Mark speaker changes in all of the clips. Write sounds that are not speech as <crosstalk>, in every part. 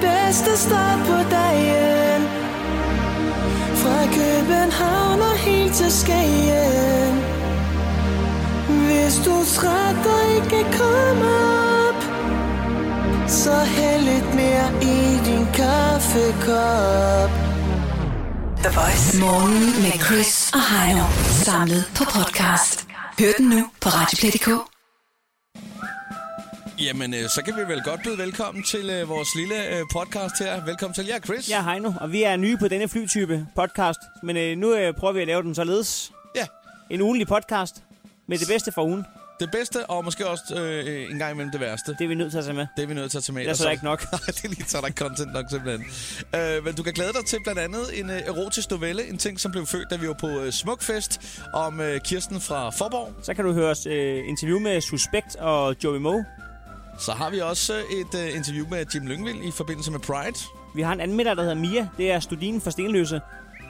Speaker 1: bedste start på dagen Fra København og helt til Skagen Hvis du er træt og ikke komme op Så hæld lidt mere i din kaffekop
Speaker 2: The Voice.
Speaker 3: Morgen med Chris og Heino. Samlet på podcast. Hør den nu på Radioplay.dk.
Speaker 4: Jamen, øh, så kan vi vel godt byde velkommen til øh, vores lille øh, podcast her. Velkommen til jer, Chris.
Speaker 5: Jeg er Heino, og vi er nye på denne flytype podcast. Men øh, nu øh, prøver vi at lave den således.
Speaker 4: ja.
Speaker 5: En ugenlig podcast med det bedste for ugen.
Speaker 4: Det bedste, og måske også øh, en gang imellem det værste.
Speaker 5: Det er vi nødt til at tage med.
Speaker 4: Det er vi nødt til at tage med.
Speaker 5: Ellers
Speaker 4: Og
Speaker 5: er der ikke nok.
Speaker 4: <laughs> Nej, det er lige, så er der ikke content nok simpelthen. Øh, men du kan glæde dig til blandt andet en øh, erotisk novelle. En ting, som blev født, da vi var på øh, Smukfest, om øh, Kirsten fra Forborg.
Speaker 5: Så kan du høre os øh, interview med Suspekt og Joey Moe.
Speaker 4: Så har vi også øh, et øh, interview med Jim Lyngvild i forbindelse med Pride.
Speaker 5: Vi har en anmelder, der hedder Mia. Det er studien fra Stenløse.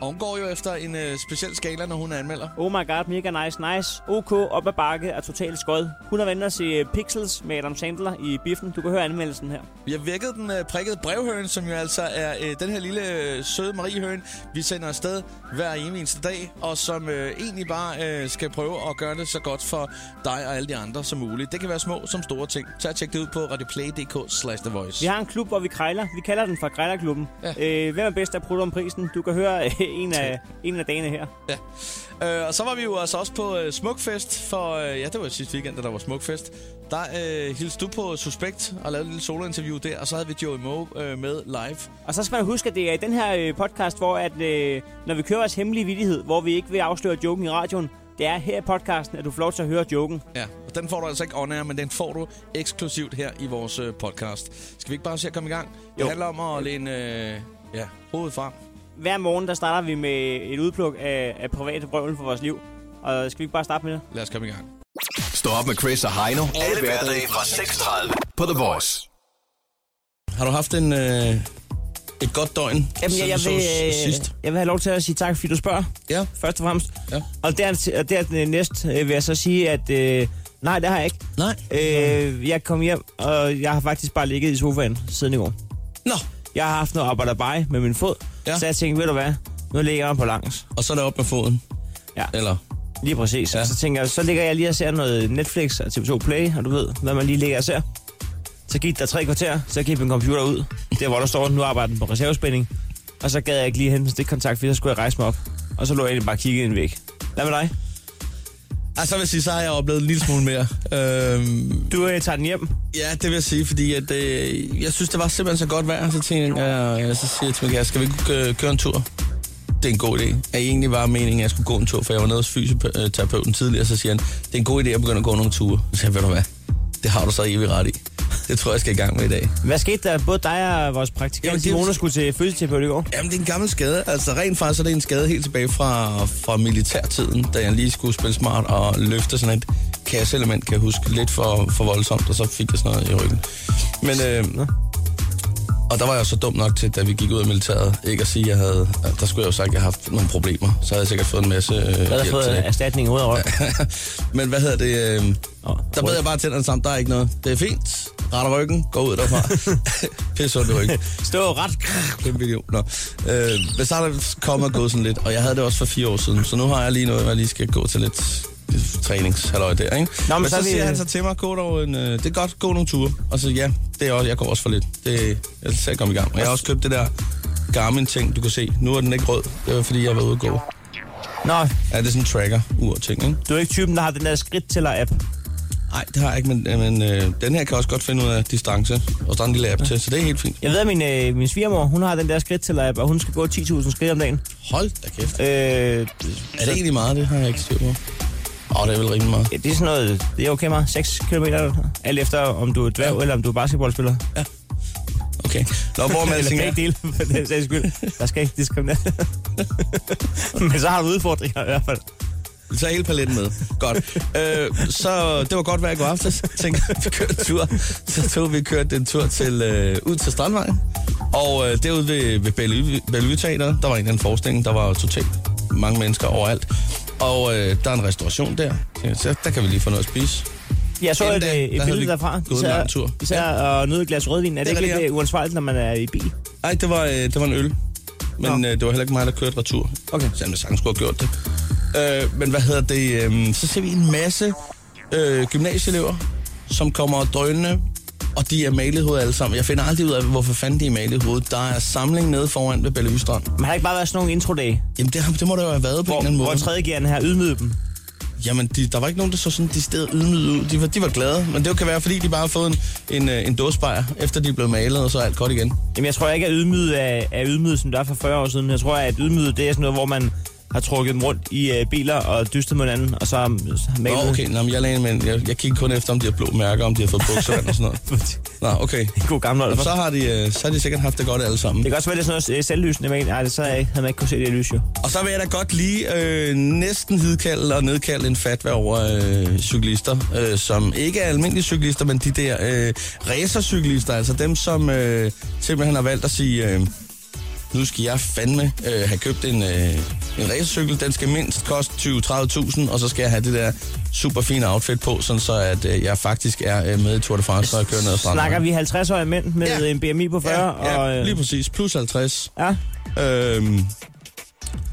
Speaker 4: Og hun går jo efter en øh, speciel skala, når hun anmelder.
Speaker 5: Oh my god, mega nice, nice. OK, op ad bakke er totalt skød. Hun har vendt at se øh, Pixels med Adam Sandler i biffen. Du kan høre anmeldelsen her.
Speaker 4: Vi har vækket den øh, prikkede brevhøn, som jo altså er øh, den her lille øh, søde Mariehøn, vi sender afsted hver eneste dag, og som øh, egentlig bare øh, skal prøve at gøre det så godt for dig og alle de andre som muligt. Det kan være små som store ting. Tag og tjek det ud på radioplay.dk slash The
Speaker 5: Vi
Speaker 4: Voice.
Speaker 5: har en klub, hvor vi krejler. Vi kalder den for Krejlerklubben.
Speaker 4: Ja.
Speaker 5: Ja. Øh, hvem er bedst af prutter om prisen? Du kan høre <laughs> øh, en, af, en af dagene her.
Speaker 4: Ja. Øh, og så var vi jo altså også på øh, Smukfest, for øh, ja, det var sidste weekend, da der var Smukfest. Der øh, hilste du på Suspekt og lavede et lille solointerview der, og så havde vi Joey Moe øh, med live.
Speaker 5: Og så skal man huske, at det er i den her øh, podcast, hvor at, øh, når vi kører vores hemmelige vidighed, hvor vi ikke vil afsløre joken i radioen, det er her i podcasten, at du får lov til at høre joken.
Speaker 4: Ja, og den får du altså ikke on air, men den får du eksklusivt her i vores øh, podcast. Skal vi ikke bare se at komme i gang? Jo. Det
Speaker 5: Jo.
Speaker 4: handler om at læne øh, ja, hovedet frem.
Speaker 5: Hver morgen, der starter vi med et udpluk af, af private brøvl for vores liv. Og skal vi ikke bare starte med det?
Speaker 4: Lad os komme i gang.
Speaker 6: Stå op med Chris og Heino. Alle hverdage fra 6.30 på The Voice.
Speaker 4: Har du haft en, øh, et godt døgn, siden vi sås
Speaker 6: øh,
Speaker 4: sidst?
Speaker 5: jeg vil have lov til at sige tak, fordi du spørger.
Speaker 4: Ja,
Speaker 5: Først og fremmest.
Speaker 4: Ja.
Speaker 5: Og der, og der næst øh, vil jeg så sige, at øh, nej, det har jeg ikke.
Speaker 4: nej.
Speaker 5: Øh, jeg kom hjem, og jeg har faktisk bare ligget i sofaen siden i går.
Speaker 4: Nå,
Speaker 5: Jeg har haft noget arbejderbej med min fod,
Speaker 4: Ja.
Speaker 5: ja. så jeg tænkte, ved du hvad, nu ligger jeg på langs.
Speaker 4: og så er det op med foden.
Speaker 5: Ja.
Speaker 4: Eller?
Speaker 5: Lige præcis.
Speaker 4: Ja.
Speaker 5: Ja. Så tænker jeg, så ligger jeg lige og ser noget Netflix og TV2 Play, og du ved, hvad man lige ligger og ser. Så gik der tre kvarter, så gik min computer ud. Det er, hvor der står, nu arbejder den på reservespænding. Og så gad jeg ikke lige hente en stikkontakt, fordi så skulle jeg rejse mig op. Og så lå jeg egentlig bare og kiggede ind væk. Hvad med dig?
Speaker 4: Altså, så vil jeg sige, så har jeg oplevet en lille smule mere. øhm,
Speaker 5: Du øh, tager den hjem.
Speaker 4: Ja, det vil jeg sige, fordi at, øh, jeg synes, det var simpelthen så godt vejr, så tænkte jeg, øh, så siger jeg til Mikael, skal vi ikke øh, køre en tur? Det er en god idé. Jeg egentlig var meningen, at jeg skulle gå en tur, for jeg var nede hos fysioterapeuten tidligere, så siger han, det er en god idé at begynde at gå nogle ture. Så siger jeg, ved du hvad, det har du så evig ret i. Det tror jeg, jeg skal i gang med i dag.
Speaker 5: Hvad skete der? Både dig og vores
Speaker 4: Jamen,
Speaker 5: praktikant
Speaker 4: det er jo-
Speaker 5: Simone skulle til fysioterapeut i går.
Speaker 4: Jamen, det er en gammel skade. Altså, rent faktisk er det en skade helt tilbage fra, fra militærtiden, da jeg lige skulle spille smart og løfte sådan et kasseelement, kan jeg huske, lidt for, for voldsomt, og så fik jeg sådan noget i ryggen. Men, øh, og der var jeg så dum nok til, da vi gik ud af militæret, ikke at sige, at jeg havde, at der skulle jeg jo sagt, at jeg havde haft nogle problemer. Så havde jeg sikkert fået en masse øh,
Speaker 5: Jeg havde
Speaker 4: hjælp
Speaker 5: fået
Speaker 4: til det.
Speaker 5: erstatning ud af røven.
Speaker 4: Men hvad hedder det? Øh,
Speaker 5: Nå,
Speaker 4: der bed jeg bare tænderne sammen, der er ikke noget. Det er fint. Retter ryggen, går
Speaker 5: <laughs>
Speaker 4: ud derfra. <laughs> Pisse ondt i ryggen.
Speaker 5: Stå ret.
Speaker 4: Kæmpe video. Nå. Øh, men så er der kommet og gået sådan lidt, og jeg havde det også for fire år siden, så nu har jeg lige noget, hvor jeg lige skal gå til lidt træningshalløj der, ikke? Nå, men, men så, så
Speaker 5: er vi-
Speaker 4: siger han så til mig, gå dog en, øh, det er godt, gå nogle ture. Og så ja, det er også, jeg går også for lidt. Det, jeg skal komme i gang. Og jeg har også købt det der Garmin-ting, du kan se. Nu er den ikke rød, det var fordi, jeg var ude at gå.
Speaker 5: Nå,
Speaker 4: Ja, det er sådan en tracker-ur-ting, ikke?
Speaker 5: du er ikke typen, der har den der skridttæller-app.
Speaker 4: Nej, det har jeg ikke, men, men øh, den her kan også godt finde ud af distance, og der er en lille app til, så det er helt fint.
Speaker 5: Jeg ved, at min, øh, min svigermor, hun har den der skridttæller-app, og hun skal gå 10.000 skridt om dagen.
Speaker 4: Hold da kæft.
Speaker 5: Øh,
Speaker 4: Er det egentlig meget, det har jeg ikke styr på? Åh, oh, det er vel rimelig meget.
Speaker 5: ja, det er sådan noget, det er okay meget, 6 km, alt efter om du er dværg, eller om du er basketballspiller.
Speaker 4: Okay. Nå, hvor man
Speaker 5: eller
Speaker 4: tænker,
Speaker 5: begge dele, for den sags skyld. Der skal ikke
Speaker 4: <laughs>
Speaker 5: diskriminere. Men så har du udfordringer i hvert fald.
Speaker 4: så er hele paletten med. Godt. Øh, så det var godt vejr i går aftes. Tænkte, vi kørte en tur. Så tog vi kørt en tur til, øh, ud til Strandvejen. Og øh, derude ved, ved Bellevue Bellevue Teateret, der var en eller anden forestilling. Der var jo totalt mange mennesker overalt. Og øh, der er en restauration der. Så der kan vi lige få noget at spise.
Speaker 5: Jeg så
Speaker 4: En
Speaker 5: et,
Speaker 4: dag,
Speaker 5: øh,
Speaker 4: der
Speaker 5: et
Speaker 4: havde vi
Speaker 5: billede derfra.
Speaker 4: gået en lang tur.
Speaker 5: Især ja. og nyde et glas rødvin. Er det
Speaker 4: Det
Speaker 5: ikke
Speaker 4: er rigtigt,
Speaker 5: lidt øh, uansvarligt, når man er i bil?
Speaker 4: Nej, det var, øh, det var en øl. Men
Speaker 5: Nå.
Speaker 4: øh, det var heller ikke mig, der kørte retur.
Speaker 5: Okay.
Speaker 4: Selvom jeg sagtens skulle have gjort det. Øh, men hvad hedder det? Øh, så ser vi en masse øh, gymnasieelever, som kommer og drønende, og de er malet i hovedet alle sammen. Jeg finder aldrig ud af, hvorfor fanden de er malet i hovedet. Der er samling nede foran ved Bellevue Strand.
Speaker 5: Man har ikke bare været sådan nogle introdage,
Speaker 4: Jamen, det, har- det må der jo have været på en eller anden
Speaker 5: hvor,
Speaker 4: måde.
Speaker 5: hvor tredjegærende har ydmyget dem.
Speaker 4: Jamen, de, der var ikke nogen, der så sådan de steder ydmyget ud. De var, de var glade, men det kan være, fordi de bare har fået en, en, øh, en dåsebajer, efter de er blevet malet, og så er alt godt igen.
Speaker 5: Jamen, jeg tror ikke, at ydmyget er, er ydmyget, som det var for 40 år siden. Jeg tror, at ydmyget, det er sådan noget, hvor man har trukket dem rundt i øh, biler og dystet med hinanden, og så har har malet.
Speaker 4: Nå, okay, Nå, men jeg, lagde, men jeg, jeg kigger kun efter, om de har blå mærker, om de har fået buksevand og sådan
Speaker 5: <laughs>
Speaker 4: noget. Nå, okay.
Speaker 5: God gammel
Speaker 4: Nå,
Speaker 5: alder.
Speaker 4: så, har de, øh, så har de sikkert haft det godt alle sammen.
Speaker 5: Det kan også være, det er sådan noget øh, selvlysende, men nej, det så havde jeg ikke- havde man ikke kunne se det her lys, jo.
Speaker 4: Og så vil jeg da godt lige øh, næsten hidkalde og nedkalde en fatva over øh, cyklister, øh, som ikke er almindelige cyklister, men de der øh, racercyklister, altså dem, som øh, simpelthen har valgt at sige, øh, nu skal jeg fandme øh, have købt en, øh, en racercykel, den skal mindst koste 20-30.000, og så skal jeg have det der super fine outfit på, sådan så at øh, jeg faktisk er øh, med i Tour de France, og kører ned ad stranden.
Speaker 5: Snakker vi 50-årige mænd med
Speaker 4: Ja.
Speaker 5: ja. en BMI på 40?
Speaker 4: Ja,
Speaker 5: og,
Speaker 4: ja,
Speaker 5: øh,
Speaker 4: lige præcis. Plus 50.
Speaker 5: ja.
Speaker 4: Øhm,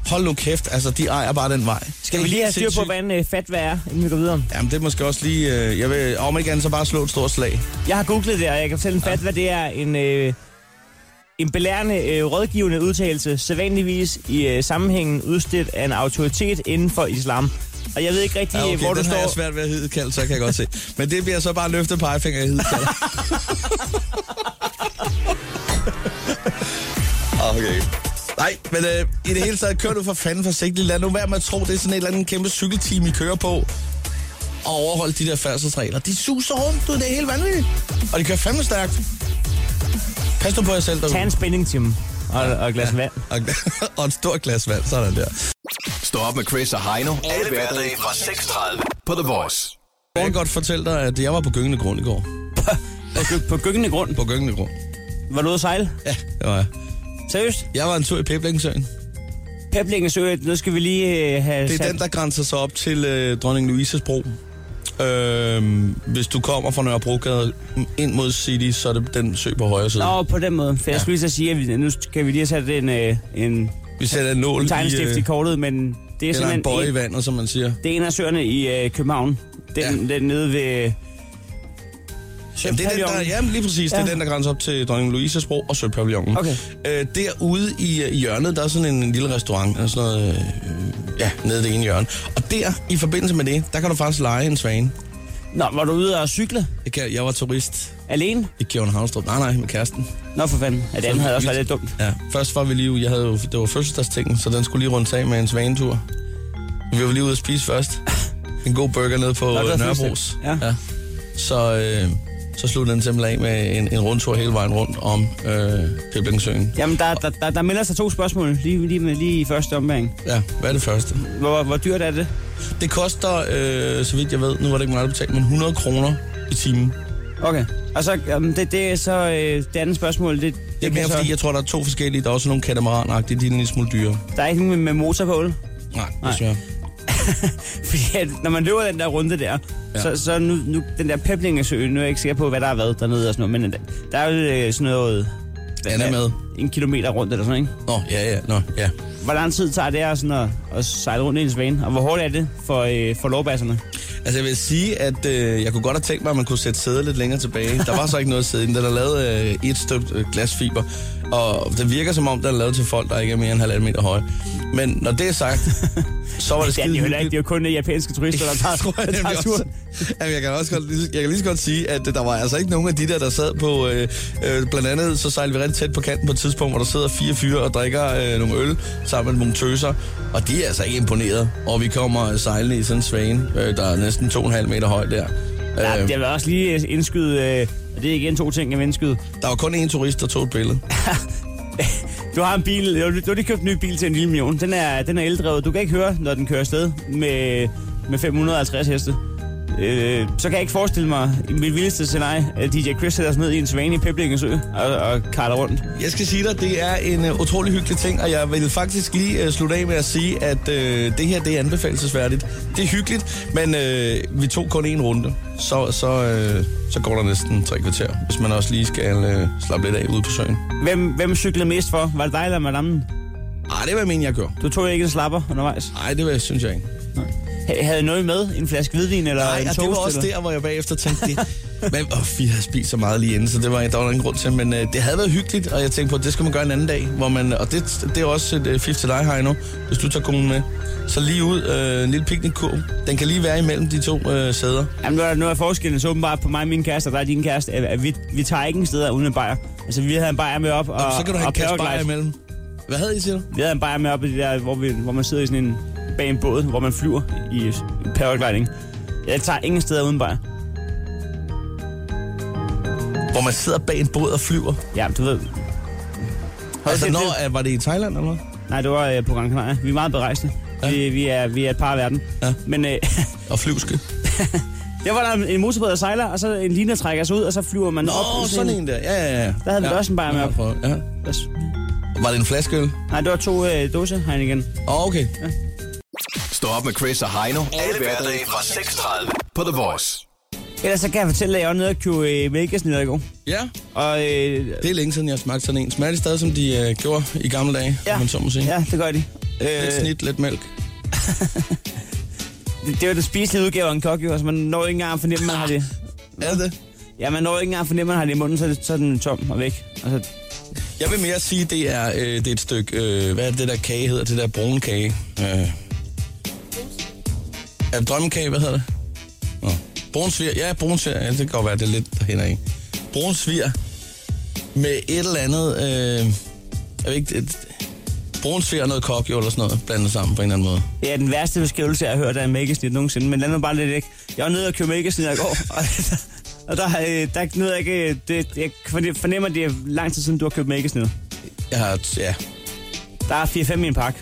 Speaker 4: hold nu kæft, altså de ejer bare den vej.
Speaker 5: Skal vi lige have styr på, hvad en øh, fatwa er, inden vi går videre?
Speaker 4: Jamen det er måske også lige, øh, jeg vil om ikke andet så bare slå et stort slag.
Speaker 5: Jeg har googlet det, og jeg kan fortælle en fatwa, det er en, øh, en belærende, øh, rådgivende udtalelse, sædvanligvis i øh, sammenhængen udstedt af en autoritet inden for islam. Og jeg ved ikke rigtig,
Speaker 4: Ja, okay,
Speaker 5: hvor du
Speaker 4: den har jeg
Speaker 5: står...
Speaker 4: svært ved at hidkalde, så kan jeg godt se. Men det bliver så bare løftet pegefinger, jeg hidkalder. okay. Nej, men øh, i det hele taget kører du for fanden forsigtigt. Lad nu være med at tro, det er sådan et eller andet kæmpe cykelteam, I kører på. Og overholde de der færdselsregler. De suser rundt, du, det er helt vanvittigt. Og de kører fandme stærkt. Pas nu på jer selv
Speaker 5: Tag en
Speaker 4: derude.
Speaker 5: spændingtime og, og et glas ja. vand.
Speaker 4: Og, <laughs> og et stort glas vand, sådan der.
Speaker 6: Stå op med Chris og Heino. Alle hverdage fra 6.30 på The Voice.
Speaker 4: Jeg kan godt fortælle dig, at jeg var på gyngende grund i går.
Speaker 5: På gyngende grund.
Speaker 4: På gyngende grund.
Speaker 5: Var du ude at sejle?
Speaker 4: Ja, det var jeg.
Speaker 5: Seriøst?
Speaker 4: Jeg var en tur i Peblingesøen.
Speaker 5: Peblingens Ø, nu skal vi lige øh, have
Speaker 4: Det er
Speaker 5: sat...
Speaker 4: den, der grænser sig op til øh, Dronning Louises Bro. Øh, hvis du kommer fra Nørrebrogade ind mod City, så er det den sø på højre side.
Speaker 5: Nå, på den måde. For ja. jeg skulle lige så sige, at vi, nu kan vi lige have sat en, øh, en
Speaker 4: Vi sætter en nål i,
Speaker 5: tegnestift
Speaker 4: øh,
Speaker 5: i kortet, men det er
Speaker 4: eller en
Speaker 5: simpelthen
Speaker 4: bøje
Speaker 5: en,
Speaker 4: i vandet, som man siger.
Speaker 5: det er en af søerne i øh, København. Den, ja. den nede ved...
Speaker 4: Jamen, det er den, der,
Speaker 5: Pavillon.
Speaker 4: jamen lige præcis, ja. det er
Speaker 5: Ja.
Speaker 4: den, der grænser op til Dronning Louises Bro og Søpavillonen.
Speaker 5: Okay.
Speaker 4: Øh, derude i, øh, i hjørnet, der er sådan en, en lille restaurant, og sådan noget, øh, ja, nede i det ene hjørne. Og der, i forbindelse med det, der kan du faktisk lege en svane.
Speaker 5: Nå, var du ude og cykle?
Speaker 4: Jeg, kan, jeg var turist
Speaker 5: Alene?
Speaker 4: i Kjørn Havnstrup. Nej, nej, med kæresten.
Speaker 5: Nå for fanden. Ja, det andet havde også været lidt dumt.
Speaker 4: Ja, først var vi lige ude- jeg havde jo, det var fødselsdagstingen, så den skulle lige rundt af med en svanetur. Vi var lige ude at spise
Speaker 5: <laughs>
Speaker 4: først. En god burger nede på
Speaker 5: det var
Speaker 4: øh, Nørrebros.
Speaker 5: fødselsdag. Ja.
Speaker 4: Så, øh, så sluttede den simpelthen af med en, en rundtur hele vejen rundt om øh, Peblingesøen.
Speaker 5: Jamen, der, der, der, der melder sig to spørgsmål lige, lige, med, lige i første omgang.
Speaker 4: Ja, hvad er det første?
Speaker 5: Hvor, hvor dyrt er det?
Speaker 4: Det koster, øh, så vidt jeg ved, nu var det ikke meget betalt, men 100 kroner i timen.
Speaker 5: Okay. Og så, jamen, det, det er så øh, det andet spørgsmål. Det, det,
Speaker 4: Det er
Speaker 5: kan
Speaker 4: mere
Speaker 5: så,
Speaker 4: fordi, jeg tror, der er to forskellige. Der er også nogle katamaranagtige, de er en lille smule dyre.
Speaker 5: Der er ikke nogen med motor på. vel?
Speaker 4: Nej,
Speaker 5: Nej.
Speaker 4: desværre.
Speaker 5: <laughs> Fordi at, når man løber den der runde der,
Speaker 4: Ja.
Speaker 5: ja. så, så nu, nu, den der Peblingesø, nu er jeg ikke sikker på, hvad der har været dernede og sådan noget, men der er jo øh, sådan noget...
Speaker 4: Han er med.
Speaker 5: En kilometer rundt eller sådan, ikke?
Speaker 4: Nå, ja, ja, nå, ja.
Speaker 5: Hvor lang tid tager det at, sådan at, at sejle rundt i en svane? Og hvor hårdt er det for, øh, for lovbasserne?
Speaker 4: Altså jeg vil sige, at øh, jeg kunne godt have tænkt mig, at man kunne sætte sædet lidt længere tilbage. Der var så ikke noget sæde i den. Den er lavet øh, i et støbt øh, glasfiber, og det virker som om, den er lavet til folk, der ikke er mere end halvandet meter høje. Men når det er
Speaker 5: <laughs>
Speaker 4: sagt, <laughs> så var det
Speaker 5: Det er,
Speaker 4: skide
Speaker 5: det jo heller ikke.
Speaker 4: hyggeligt.
Speaker 5: Det er jo kun øh, japanske turister,
Speaker 4: <laughs>
Speaker 5: der tager,
Speaker 4: Tror jeg
Speaker 5: der
Speaker 4: nemlig
Speaker 5: tager
Speaker 4: også.
Speaker 5: turen.
Speaker 4: Jamen, jeg kan også godt, lige- jeg kan lige så godt sige, at øh, der var altså ikke nogen af de der, der sad på... Øh, øh, blandt andet så sejlede vi rigtig tæt på kanten på et tidspunkt, hvor der sidder fire fyre og drikker øh, nogle øl sammen med nogle tøser. Og de er altså ikke imponeret. Og vi kommer øh, sejlende i sådan en svane, øh, der er næsten 2,5 meter høj der.
Speaker 5: Ja,
Speaker 4: Øh,
Speaker 5: jeg vil også lige øh, indskyde... Øh, og det er igen to ting, jeg vil indskyde.
Speaker 4: der var kun én turist, der tog et billede.
Speaker 5: <laughs> Du har en bil, du, du har lige købt en ny bil til en lille million. Den er, den er eldrevet. Du kan ikke høre, når den kører afsted med, med 550 heste. Øh, så kan jeg ikke forestille mig i mit vildeste scenarie, at DJ Chris sætter sig ned i en svane i Peblingens Ø og, og karter rundt.
Speaker 4: Jeg skal sige dig, det er en uh, utrolig hyggelig ting, og jeg vil faktisk lige uh, slutte af med at sige, at uh, det her det er anbefalesværdigt. Det er hyggeligt, men uh, vi tog kun én runde, så, så, uh, så går der næsten tre kvarter, hvis man også lige skal uh, slappe lidt af ude på søen.
Speaker 5: Hvem, hvem cyklede mest for? Var det dig eller madammen?
Speaker 4: Nej, det var min, jeg gjorde.
Speaker 5: Du tog ikke en slapper undervejs?
Speaker 4: Nej, det var, synes jeg ikke.
Speaker 5: Ha- Havde I noget med? En flaske hvidvin eller
Speaker 4: Nej,
Speaker 5: en
Speaker 4: og
Speaker 5: toast?
Speaker 4: det var også
Speaker 5: eller?
Speaker 4: der, hvor jeg bagefter tænkte, det, men, åh, vi har spist så meget lige inden, så det var, der var ingen grund til, men øh, det havde været hyggeligt, og jeg tænkte på, at det skal man gøre en anden dag, hvor man, og det, det er også et øh, fif til dig, Heino, hvis du tager konen med. Så lige ud, øh, en lille piknikkurv, den kan lige være imellem de to øh, sæder.
Speaker 5: Jamen, nu er, nu er forskellen så åbenbart på mig og min kæreste, og der er din kæreste, at at vi, vi tager ikke en sted uden en bajer. Altså, vi havde en bajer med op, og,
Speaker 4: Og, så kan du have en
Speaker 5: og
Speaker 4: kasse
Speaker 5: Paraglide.
Speaker 4: bajer imellem. Hvad havde I, siger du?
Speaker 5: Vi havde en bajer med op, i det der, hvor, vi, hvor man sidder i sådan en bag en båd, hvor man flyver i paragliding. Jeg tager ingen steder uden bajer.
Speaker 4: Hvor man sidder bag en båd og flyver.
Speaker 5: Ja, du ved. Hold
Speaker 4: Altså,
Speaker 5: altså,
Speaker 4: når, øh, var det i Thailand eller noget?
Speaker 5: Nej, det var øh, på Gran Canaria. Vi er meget berejste. Ja. Vi, vi, er, vi er et par af verden.
Speaker 4: Ja.
Speaker 5: Men øh,
Speaker 4: Og flyvske.
Speaker 5: <laughs> der var der en- en motorbåd, der sejler, og så en liner trækker sig ud, og så flyver man op.
Speaker 4: Nå,
Speaker 5: i
Speaker 4: sådan en der. Ja, ja, ja.
Speaker 5: Der havde vi
Speaker 4: ja.
Speaker 5: også en bajer med op.
Speaker 4: Ja, ja. Var det en flaskeøl?
Speaker 5: Nej, det var to øh, dåse Heineken.
Speaker 4: Åh, okay.
Speaker 6: Stå op med Chris og Heino. Alle hverdage fra 6.30 på The Voice.
Speaker 5: Ellers så kan jeg fortælle, at jeg var nede og købe øh, mælkesnitter i går.
Speaker 4: Ja,
Speaker 5: Og øh,
Speaker 4: Det er længe siden, jeg har smagt sådan en. Smager det stadig, som de øh, gjorde i gamle dage, ja.
Speaker 5: Ja.
Speaker 4: man så må sige? Ja.
Speaker 5: ja, det gør de.
Speaker 4: Lidt
Speaker 5: Øh,
Speaker 4: snit, lidt mælk.
Speaker 5: <laughs> det, det var den spiselige udgave af en kok, jo. Altså, man når ikke engang at fornemme, man har det.
Speaker 4: <laughs> Er det?
Speaker 5: Ja, man når ikke engang at fornemme, man har det i munden, så, er det- så er den tom og væk. Altså,
Speaker 4: Jeg vil mere sige, det er, øh, det er et stykke... Øh, hvad er det der kage hedder? Det der brune kage. Øh. Er det drømmekage? Hvad hedder det? Nå. Brunsvir. Ja, brunsvir. Ja, det kan godt være, det er lidt derhen af. Brunsvir med et eller andet... Øh, jeg ved ikke... Et, brunsvir og noget kokjo eller sådan noget blandet sammen på en eller anden måde.
Speaker 5: det er den værste beskrivelse, jeg har hørt af en mælkesnit nogensinde, men lad nu bare lidt ikke. Jeg var nede og købe mælkesnitter i går, og, <laughs> og der, øh, der nåede jeg ikke... øh, Det, jeg forne- fornemmer, det er lang tid siden, du har købt mælkesnitter.
Speaker 4: Jeg har... Ja.
Speaker 5: Der er 4-5 i en pakke.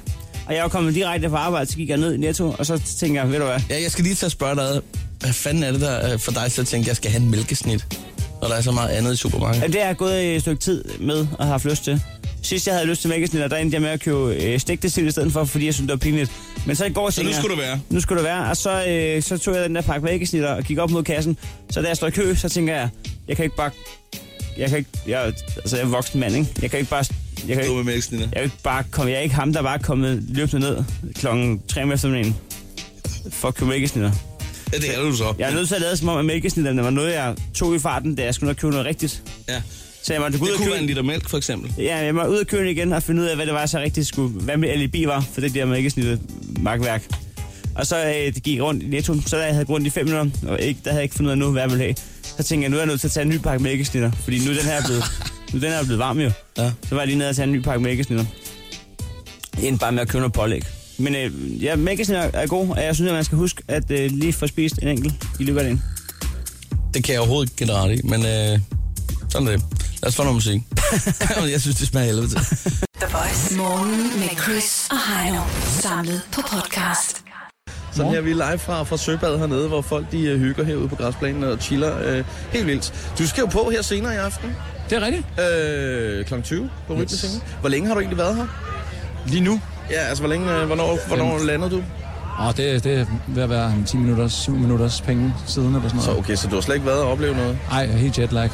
Speaker 5: Og jeg var kommet direkte fra arbejde, så gik jeg ned i Netto, og så tænker jeg, ved du hvad,
Speaker 4: Ja, jeg skal lige til at spørge dig, ad. hvad fanden er det der øh, for dig til at tænke, at jeg skal have en mælkesnit, når der er så meget andet i supermarkedet?
Speaker 5: Jamen, det har jeg gået et stykke tid med og har haft lyst til. Sidst jeg havde lyst til mælkesnitter, der endte jeg med at købe øh, stegte sild i stedet for, fordi jeg syntes, det var pinligt. Men så i går
Speaker 4: Så nu skulle du være.
Speaker 5: Nu skulle du være, og så, øh, så tog jeg den der pakke mælkesnitter og gik op mod kassen. Så da jeg står i kø, så tænker jeg, jeg kan ikke bare... Jeg kan ikke... Jeg, altså, jeg er en voksen mand, ikke? Jeg kan ikke bare... Jeg kan
Speaker 4: Du
Speaker 5: ikke,
Speaker 4: med mælkesnitter.
Speaker 5: jeg er ikke bare komme, jeg er ikke ham, der bare er kommet løbende ned klokken 3 om eftermiddagen for at købe mælkesnitter.
Speaker 4: Ja, det er du så.
Speaker 5: Jeg er nødt til at lade som om, at mælkesnitterne var noget, jeg tog i farten, da jeg skulle ned og købe noget rigtigt.
Speaker 4: Ja.
Speaker 5: Så jeg måtte gå ud
Speaker 4: Det
Speaker 5: og
Speaker 4: kunne være
Speaker 5: købe...
Speaker 4: en liter mælk, for eksempel.
Speaker 5: Ja, jeg må ud af køen igen og finde ud af, hvad det var, jeg så rigtig skulle... Hvad mit alibi var for det der mælkesnitte magtværk. Og så øh, det gik jeg rundt i Netto, så da jeg havde gået rundt i 5 minutter, og ikke, der havde jeg ikke fundet ud af nu, hvad jeg ville have. Så tænkte jeg, nu er jeg nødt til at tage en ny pakke mælkesnitter, fordi nu er den her er blevet, nu er den her er blevet varm jo.
Speaker 4: Ja.
Speaker 5: Så var jeg lige nede og tage en ny pakke mælkesnitter. End bare med at købe noget pålæg. Men øh, ja, mælkesnitter er god, og jeg synes, at man skal huske at øh, lige få spist en enkelt i løbet af dagen.
Speaker 4: Det kan jeg overhovedet ikke generelt i, men øh, sådan er det. Lad os få noget
Speaker 5: <laughs>
Speaker 4: musik. <laughs> jeg synes, det smager helvede til.
Speaker 2: The Voice.
Speaker 3: Morgen med Chris og Heino. Samlet på podcast.
Speaker 4: Sådan her, vi er live fra, fra Søbad hernede, hvor folk de øh, hygger herude på græsplænen og chiller øh, helt vildt. Du skal jo på her senere i aften,
Speaker 7: Det er rigtigt.
Speaker 4: øh, kl. 20 på Rytmes yes. Hvor længe har du egentlig været her?
Speaker 7: Lige nu.
Speaker 4: Ja, altså, hvor længe, øh, hvornår, hvornår landede du?
Speaker 7: Åh, det, det er ved at være en 10 minutters, 7 minutters penge siden eller sådan
Speaker 4: Så
Speaker 7: noget.
Speaker 4: okay, så du har slet ikke været og opleve noget?
Speaker 7: Ej, jeg er helt jetlag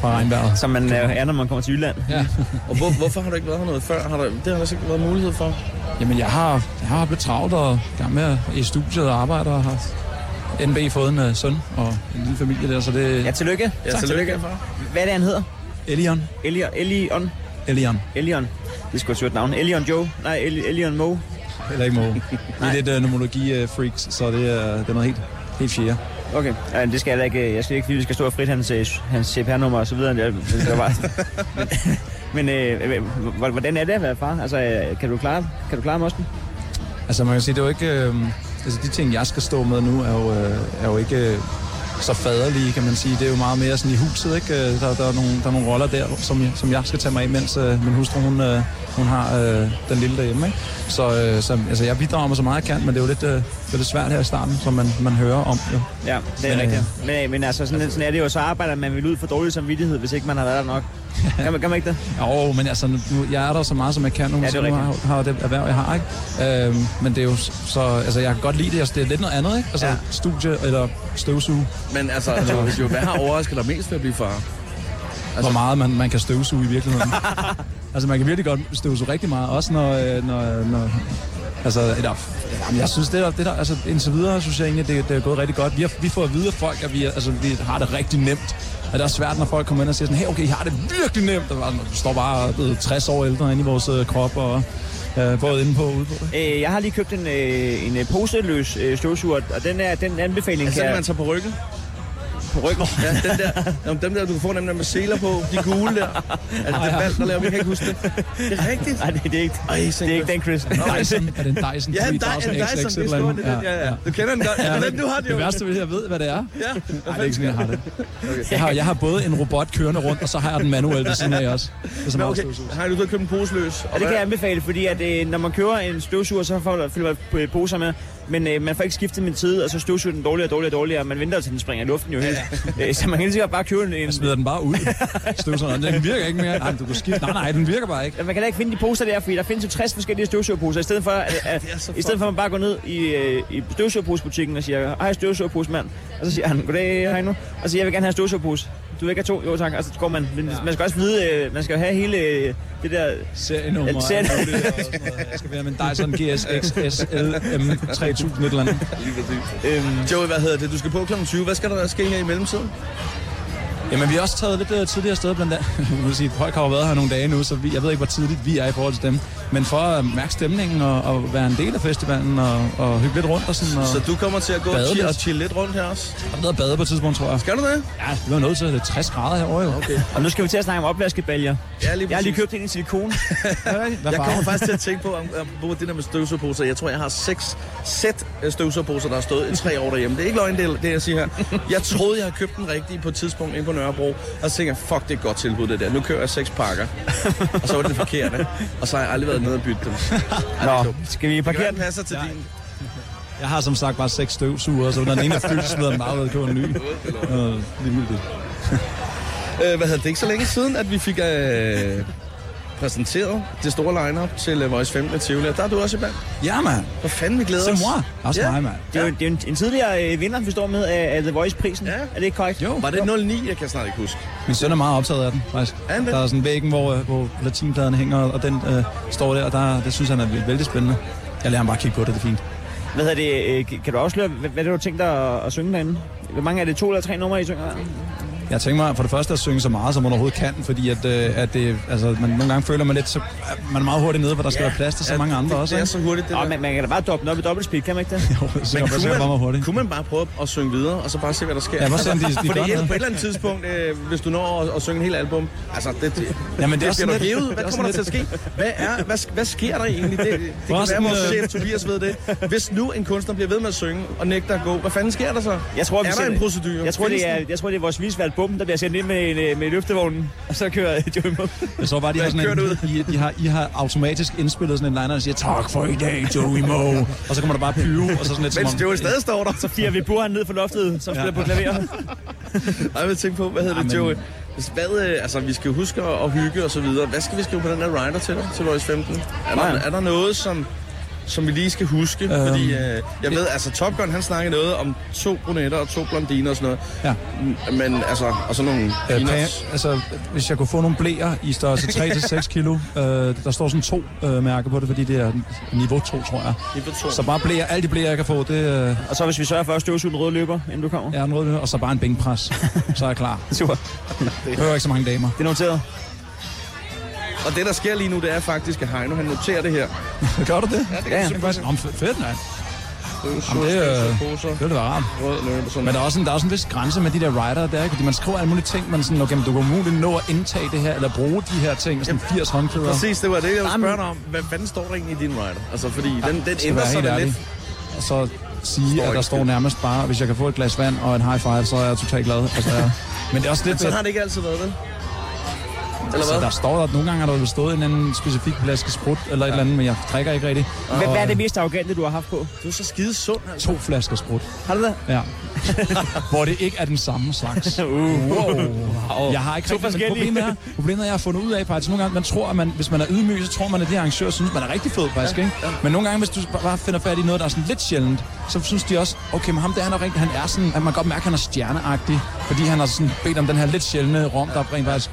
Speaker 7: fra
Speaker 5: <laughs>
Speaker 7: regnvejret.
Speaker 5: Som man øh, er, når man kommer til Jylland.
Speaker 7: Ja.
Speaker 4: <laughs> Og hvor, hvorfor har du ikke været her noget før? Har der, det har der altså ikke været mulighed for.
Speaker 7: Jamen, jeg har, jeg har haft lidt travlt og i gang med at- i studiet og arbejder og har NB fået en uh, søn og en lille familie der, så det
Speaker 5: Ja,
Speaker 7: er
Speaker 5: tillykke.
Speaker 4: Ja, tak, tillykke. far.
Speaker 5: Hvad er det, han hedder?
Speaker 7: Elion.
Speaker 5: Elion. Elion.
Speaker 7: Elion.
Speaker 5: Elion. Det skulle sgu et navn. Elion Joe. Nej, El- Elion Mo.
Speaker 7: Eller
Speaker 5: <laughs>
Speaker 7: ikke Mo. Vi er lidt uh, nomologi-freaks, så det, uh, det er noget helt, helt fjerde.
Speaker 5: Okay. Ja, det skal jeg da ikke. øh, Jeg skal ikke, fordi vi skal stå og frit hans, øh, hans CPR-nummer og så videre. Jeg, det skal
Speaker 7: <laughs>
Speaker 5: bare. Men, <laughs> men øh, h- h- hvordan er det at være far? Altså, øh, kan du klare, kan du klare mosten?
Speaker 7: Altså man kan sige, det er jo ikke... Øh, altså de ting, jeg skal stå med nu, er jo, øh, er jo ikke øh, så faderlige, kan man sige. Det er jo meget mere sådan i huset, ikke? Øh, Der, der, er, nogle, der er nogle roller der, som, jeg- som jeg skal tage mig af, mens øh, min hustru, hun, øh, hun har øh, den lille derhjemme. Ikke? Så, øh, så altså, jeg bidrager med så meget jeg kan, men det er jo lidt, øh, det er lidt svært her i starten, som man, man hører om. Jo.
Speaker 5: Ja,
Speaker 7: Men,
Speaker 5: det er men,
Speaker 7: øh,
Speaker 5: rigtigt. Men, men altså, sådan, sådan er det jo, så arbejder man vel ud for dårlig samvittighed, hvis ikke man har været der nok.
Speaker 7: <laughs>
Speaker 5: Kan man, kan man ikke det?
Speaker 7: Jo, men altså, nu, jeg er der så meget, som jeg kan nu,
Speaker 5: Ja,
Speaker 7: ja,
Speaker 5: det er
Speaker 7: det nu har,
Speaker 5: rigtigt.
Speaker 7: har det erhverv, jeg har, ikke? Øhm, men det er jo s- så, altså, jeg kan godt lide det, altså, det er lidt noget andet, ikke? Altså,
Speaker 5: Ja.
Speaker 7: ja. studie eller støvsuge,
Speaker 8: Men altså, Jonas, jo, hvad har overrasket dig mest ved at blive far?
Speaker 7: altså, hvor meget man, man kan støvsuge i virkeligheden. altså, man kan virkelig godt støvsuge rigtig meget, også når, øh, når, øh, når Altså, eller, jamen, jeg synes, det der, det der, altså, indtil videre, synes jeg egentlig, det, det er gået rigtig godt. Vi, har, vi får at vide af folk, at vi, er- altså, vi har det rigtig nemt. Og det er svært, når folk kommer ind og siger sådan, hey, okay, I har det virkelig nemt. Og bare sådan, du står bare og er blevet 60 år ældre inde i vores øh, krop, og øh, både inde på og ude på. Ikke?
Speaker 5: Øh, jeg har lige købt en, øh, en øh, poseløs øh, støvsuger, og den, er, den anbefaling
Speaker 4: Altså,
Speaker 5: kan
Speaker 4: den
Speaker 5: jeg
Speaker 4: man tager på ryggen.
Speaker 5: på ryggen.
Speaker 4: Ja, den der, jamen, dem der, du kan få dem der med seler på, de gule der. Altså, det er valg, der laver, vi kan ikke huske det. Det er rigtigt.
Speaker 5: Nej, det, det, er ikke,
Speaker 4: Ej,
Speaker 5: det er ikke den, Chris.
Speaker 7: Dyson, er det en Dyson
Speaker 4: Ja, en Dyson,
Speaker 7: 3000
Speaker 4: en Dyson,
Speaker 7: XX
Speaker 4: det er
Speaker 7: eller
Speaker 4: stort,
Speaker 7: andet?
Speaker 4: det der. Ja, ja. Du kender den godt. Ja, den du har, det
Speaker 7: det
Speaker 4: jo.
Speaker 7: værste ved, at jeg ved, hvad det er.
Speaker 4: Ja.
Speaker 7: Nej, det er ikke sådan, jeg har det. Jeg har, jeg har både en robot kørende rundt, og så har jeg den manuel ved siden
Speaker 4: <laughs>
Speaker 7: af også. Det er så
Speaker 4: Men
Speaker 7: meget
Speaker 4: okay,
Speaker 7: støvsug.
Speaker 4: har du så købt en pose løs?
Speaker 5: Og det kan jeg anbefale, fordi at, øh, når man kører en støvsuger, så får der fylder man, øh, poser med. Men øh, man får ikke skiftet med tid, og så støvsuger den dårligere og dårligere og dårligere. Man venter til den springer i luften jo helt. Øh, så man kan lige så godt bare købe en... en
Speaker 7: Jeg smider den bare ud. Støvsugeren, den virker ikke mere. Nej, men du kan skifte. Nej, nej, den virker bare ikke.
Speaker 5: man kan da ikke finde de poser der, fordi der findes jo 60 forskellige støvsugerposer. I stedet for, at, at, i stedet for at man bare går ned i, øh, i støvsugerposebutikken og siger, hej støvsugerpose mand. Og så siger han, goddag Heino. Og så siger jeg, vil gerne have en støvsugerpose. Du vil ikke have to? Jo tak. Og så går man. Men Man skal også vide, øh, man skal jo have hele øh, det der...
Speaker 7: Serienummer.
Speaker 5: Ja, serien-
Speaker 7: alt muligt, og sådan noget. Jeg skal være med en Dyson GSXSLM 3000 et eller andet.
Speaker 5: Øhm,
Speaker 4: Joey, hvad hedder det? Du skal på kl. 20. Hvad skal der ske her i mellemtiden?
Speaker 7: Jamen, vi har også taget lidt øh, tidligere sted blandt andet. <laughs> Jeg vil sige, at folk har jo været her nogle dage nu, så vi, jeg ved ikke, hvor tidligt vi er i forhold til dem. Men for at mærke stemningen og, og være en del af festivalen og, og hygge lidt rundt og sådan. Og,
Speaker 4: Så du kommer til at gå og
Speaker 7: Bade
Speaker 4: chill,
Speaker 7: lidt.
Speaker 4: og chille lidt rundt her også?
Speaker 7: Jeg har været at bade på et tidspunkt, tror jeg.
Speaker 4: Gør du det?
Speaker 7: Ja, vi var nødt til det. er 60 grader herovre, jo. Okay.
Speaker 5: og nu skal vi til at snakke om opvaskebaljer.
Speaker 4: Ja, lige
Speaker 5: <laughs> Jeg har lige
Speaker 4: præcis.
Speaker 5: købt en i silikone.
Speaker 7: Hvad
Speaker 4: Jeg kommer
Speaker 7: farve?
Speaker 4: faktisk til at tænke på, om, om det der med støvsugerposer. Jeg tror, jeg har seks sæt øh, støvsugerposer, der har stået i tre år derhjemme. Det er ikke løgn, det, er- det jeg siger her. Jeg troede, jeg havde købt den rigtige på et tidspunkt inde på Nørrebro. Og så tænkte jeg, fuck, det er et godt tilbud, det der. Nu kører jeg seks pakker. Og så var det det forkerte. Og så har jeg aldrig været nede og bytte dem. Ej, det er
Speaker 5: Nå,
Speaker 4: dumt.
Speaker 5: skal vi
Speaker 4: Det kan
Speaker 5: parkere
Speaker 4: være,
Speaker 5: den?
Speaker 4: den passer til din.
Speaker 7: Jeg har som sagt bare seks støvsuger, så når den ene er fyldt, smider den bare ud og køber en ny. Øh, ligegyldigt.
Speaker 4: <laughs> Øh, hvad hedder det? Ikke så længe siden, at vi fik øh, præsenteret det store lineup til øh, Voice 15 med Tivoli. Og Der er du også i band.
Speaker 7: Ja, mand.
Speaker 4: <laughs> Hvor fanden vi glæder
Speaker 7: Se
Speaker 4: os.
Speaker 7: mor. Også
Speaker 4: Ja.
Speaker 7: mig, mand.
Speaker 5: Det er jo det er jo en, en tidligere øh, vinder, vi står med af, af The Voice-prisen.
Speaker 4: Ja.
Speaker 5: Er det ikke korrekt?
Speaker 7: Jo.
Speaker 4: Var det 09? Jeg kan snart ikke huske.
Speaker 7: Min søn er meget optaget af den, faktisk.
Speaker 4: Er han det?
Speaker 7: Der er sådan en væggen, hvor, øh, hvor latinpladerne hænger, og den øh, står der, og der, det synes han er vildt- vældig spændende. Jeg lader ham bare kigge på det, det er fint.
Speaker 5: Hvad hedder det? øh, kan- Kan du afsløre, hvad, hvad det er, du har tænkt dig at, at synge derinde? Hvor mange er det? To eller tre numre, I synger?
Speaker 7: Jeg tænker mig for det første at synge så meget, som man overhovedet kan, fordi at, øh, at det, altså, man, nogle gange føler man lidt, så, øh, man er meget hurtigt nede, hvor der skal være plads til så mange andre
Speaker 4: det,
Speaker 7: også.
Speaker 4: Det er
Speaker 7: ikke?
Speaker 4: så hurtigt, det
Speaker 5: Nå,
Speaker 4: der.
Speaker 5: man, man kan da bare doppe den op i dobbeltspeed, kan man ikke det?
Speaker 7: <laughs> Jo, så
Speaker 4: Men
Speaker 7: jeg
Speaker 4: kunne,
Speaker 7: forsøger bare mig hurtigt.
Speaker 4: kunne man bare prøve at synge videre, og så bare se, hvad der sker? Altså,
Speaker 7: Ja, hvor ser de- de
Speaker 4: Fordi
Speaker 7: godt
Speaker 4: ellers
Speaker 7: ud?
Speaker 4: på et eller andet tidspunkt, øh, hvis du når at, at synge en hel album, altså det, det,
Speaker 7: Jamen, det er
Speaker 4: det
Speaker 7: også
Speaker 4: bliver
Speaker 7: sådan lidt-
Speaker 4: du hævet.
Speaker 7: det
Speaker 4: Hvad
Speaker 7: er
Speaker 4: kommer der til at ske? Hvad, er, hvad, hvad sker der egentlig? Det, det kan
Speaker 7: Også
Speaker 4: være, vores
Speaker 7: sådan, øh,
Speaker 4: chef Tobias ved det. Hvis nu en kunstner bliver ved med at synge og nægter at gå, hvad fanden sker der så?
Speaker 5: Jeg tror, vi
Speaker 4: er der
Speaker 5: ser-
Speaker 4: en procedure?
Speaker 5: Jeg tror, det
Speaker 4: Findes
Speaker 5: er, jeg tror, det er vores visvalg bum, der bliver sendt ind med, en, øh, med løftevognen, og så kører <laughs> Joey mod.
Speaker 7: Jeg tror bare, de har, sådan
Speaker 4: kører
Speaker 7: en, I, de har, I har automatisk indspillet sådan en liner, der siger, tak for i dag, Joey
Speaker 4: <laughs>
Speaker 7: Moe. og så kommer der bare pyro, og så sådan lidt
Speaker 4: den? Mens
Speaker 7: som
Speaker 4: det
Speaker 7: om...
Speaker 4: jo stadig står der.
Speaker 5: Så firer vi burhan ned fra loftet, som spiller på klaver.
Speaker 4: <laughs> Ej, jeg vil tænke på, hvad hedder det,
Speaker 7: Ja, men-
Speaker 4: Joey? Hvis- Hvad, øh, altså, vi skal jo huske at, at hygge og så videre. Hvad skal vi skrive på den her rider til dig, til Voice 15? Er der,
Speaker 5: Nej.
Speaker 4: er der noget, som, som vi lige skal huske? Øhm, Fordi øh, jeg ved, altså Top Gun, han snakkede noget om to brunetter og to blondiner og sådan
Speaker 7: Ja.
Speaker 4: noget. Ja. Men altså, og sådan nogle
Speaker 7: Øh,
Speaker 4: peanuts.
Speaker 7: pa- altså, hvis jeg kunne få nogle blæer i størrelse 3-6
Speaker 5: <laughs>
Speaker 7: kilo, øh, der står sådan to øh, mærker på det, fordi det er niveau 2, tror jeg.
Speaker 4: Niveau to.
Speaker 7: Så bare blæer, alle de blæer, jeg kan få, det øh,
Speaker 5: Og så hvis vi sørger for at støvsuge den røde løber, inden du kommer. Ja.
Speaker 7: er en rød, og så bare en bænkpres. Så er jeg klar.
Speaker 5: <laughs> Super.
Speaker 7: Jeg hører ikke så mange damer.
Speaker 5: Det er noteret.
Speaker 4: Og det, der sker lige nu, det er faktisk, at Heino, han noterer det her.
Speaker 7: <laughs> Gør du det? Ja, det
Speaker 5: kan jeg
Speaker 7: faktisk. Nå, men fe- fedt, nej.
Speaker 4: Jamen,
Speaker 7: det, øh,
Speaker 4: poser,
Speaker 7: Det ville være rart.
Speaker 4: rød løber, sådan
Speaker 7: Men der er også en, der er også en vis grænse med de der rider der, ikke? Fordi man skriver alle mulige ting, man sådan, okay, men du kan umuligt nå at indtage det her, eller bruge de her ting, sådan 80 håndklæder.
Speaker 4: Præcis, det var det, jeg ville spørge dig om. Hvad fanden står der egentlig i din rider? Altså, fordi den, den
Speaker 7: ah, skal
Speaker 4: ændrer
Speaker 7: være
Speaker 4: sig
Speaker 7: helt
Speaker 4: da
Speaker 7: ærlig.
Speaker 4: lidt.
Speaker 7: Og så sige, at der
Speaker 4: ikke
Speaker 7: står
Speaker 4: skidt.
Speaker 7: nærmest bare, hvis jeg kan få et glas
Speaker 4: <laughs>
Speaker 7: vand og en high five, så er jeg totalt glad. Altså, jeg... Men det er også lidt...
Speaker 4: Sådan har det ikke altid været, vel?
Speaker 8: eller
Speaker 7: Så
Speaker 8: hvad?
Speaker 7: der står der, at nogle gange har der jo stået en anden specifik flaske sprut eller et eller andet, men jeg drikker ikke rigtigt.
Speaker 5: Hvad, hvad er det mest arrogante, du har haft på?
Speaker 8: Du er så skide sund, altså.
Speaker 7: To flasker sprut.
Speaker 5: Har du det?
Speaker 7: Ja. <laughs> Hvor det ikke er den samme slags.
Speaker 5: <laughs> Uh. Wow.
Speaker 7: Jeg har ikke
Speaker 5: To
Speaker 7: rigtig- men
Speaker 5: forskellige.
Speaker 7: Problemet er, problemet er, at jeg har fundet ud af, faktisk, nogle gange, man tror, at man, hvis man er ydmyg, så tror man, at de arrangører synes, man er rigtig fed, faktisk, ikke? Men nogle gange, hvis du bare finder fat i noget, der er sådan lidt sjældent, så synes de også, okay, men ham der, han er, rigtig, han er sådan, at man kan godt mærke, at han er stjerneagtig, fordi han har sådan bedt om den her lidt sjældne rom, der rent faktisk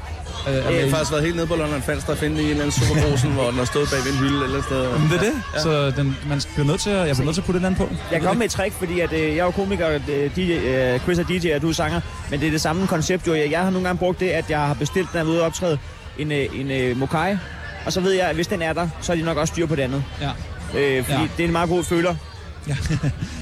Speaker 7: øh, er
Speaker 8: Jeg
Speaker 7: med
Speaker 8: har
Speaker 7: i.
Speaker 8: faktisk været helt nede på London Falster og finde i en eller anden superbrosen, hvor den har stået bag ved en hylde eller et sted.
Speaker 7: Men det er det. Så den, man bliver nødt til at, jeg bliver nødt til at putte et eller andet på.
Speaker 5: Jeg kom med et trick, fordi at, øh, jeg er jo komiker, og øh, DJ, øh, Chris er DJ, og du er sanger. Men det er det samme koncept jo. Jeg, jeg har nogle gange brugt det, at jeg har bestilt, når jeg er ude og optræde, en, øh, en øh, mokai. Og så ved jeg, at hvis den er der, så er de nok også styr på det andet.
Speaker 7: Ja.
Speaker 5: Øh, fordi ja.
Speaker 7: Ja.
Speaker 5: det er en meget god føler.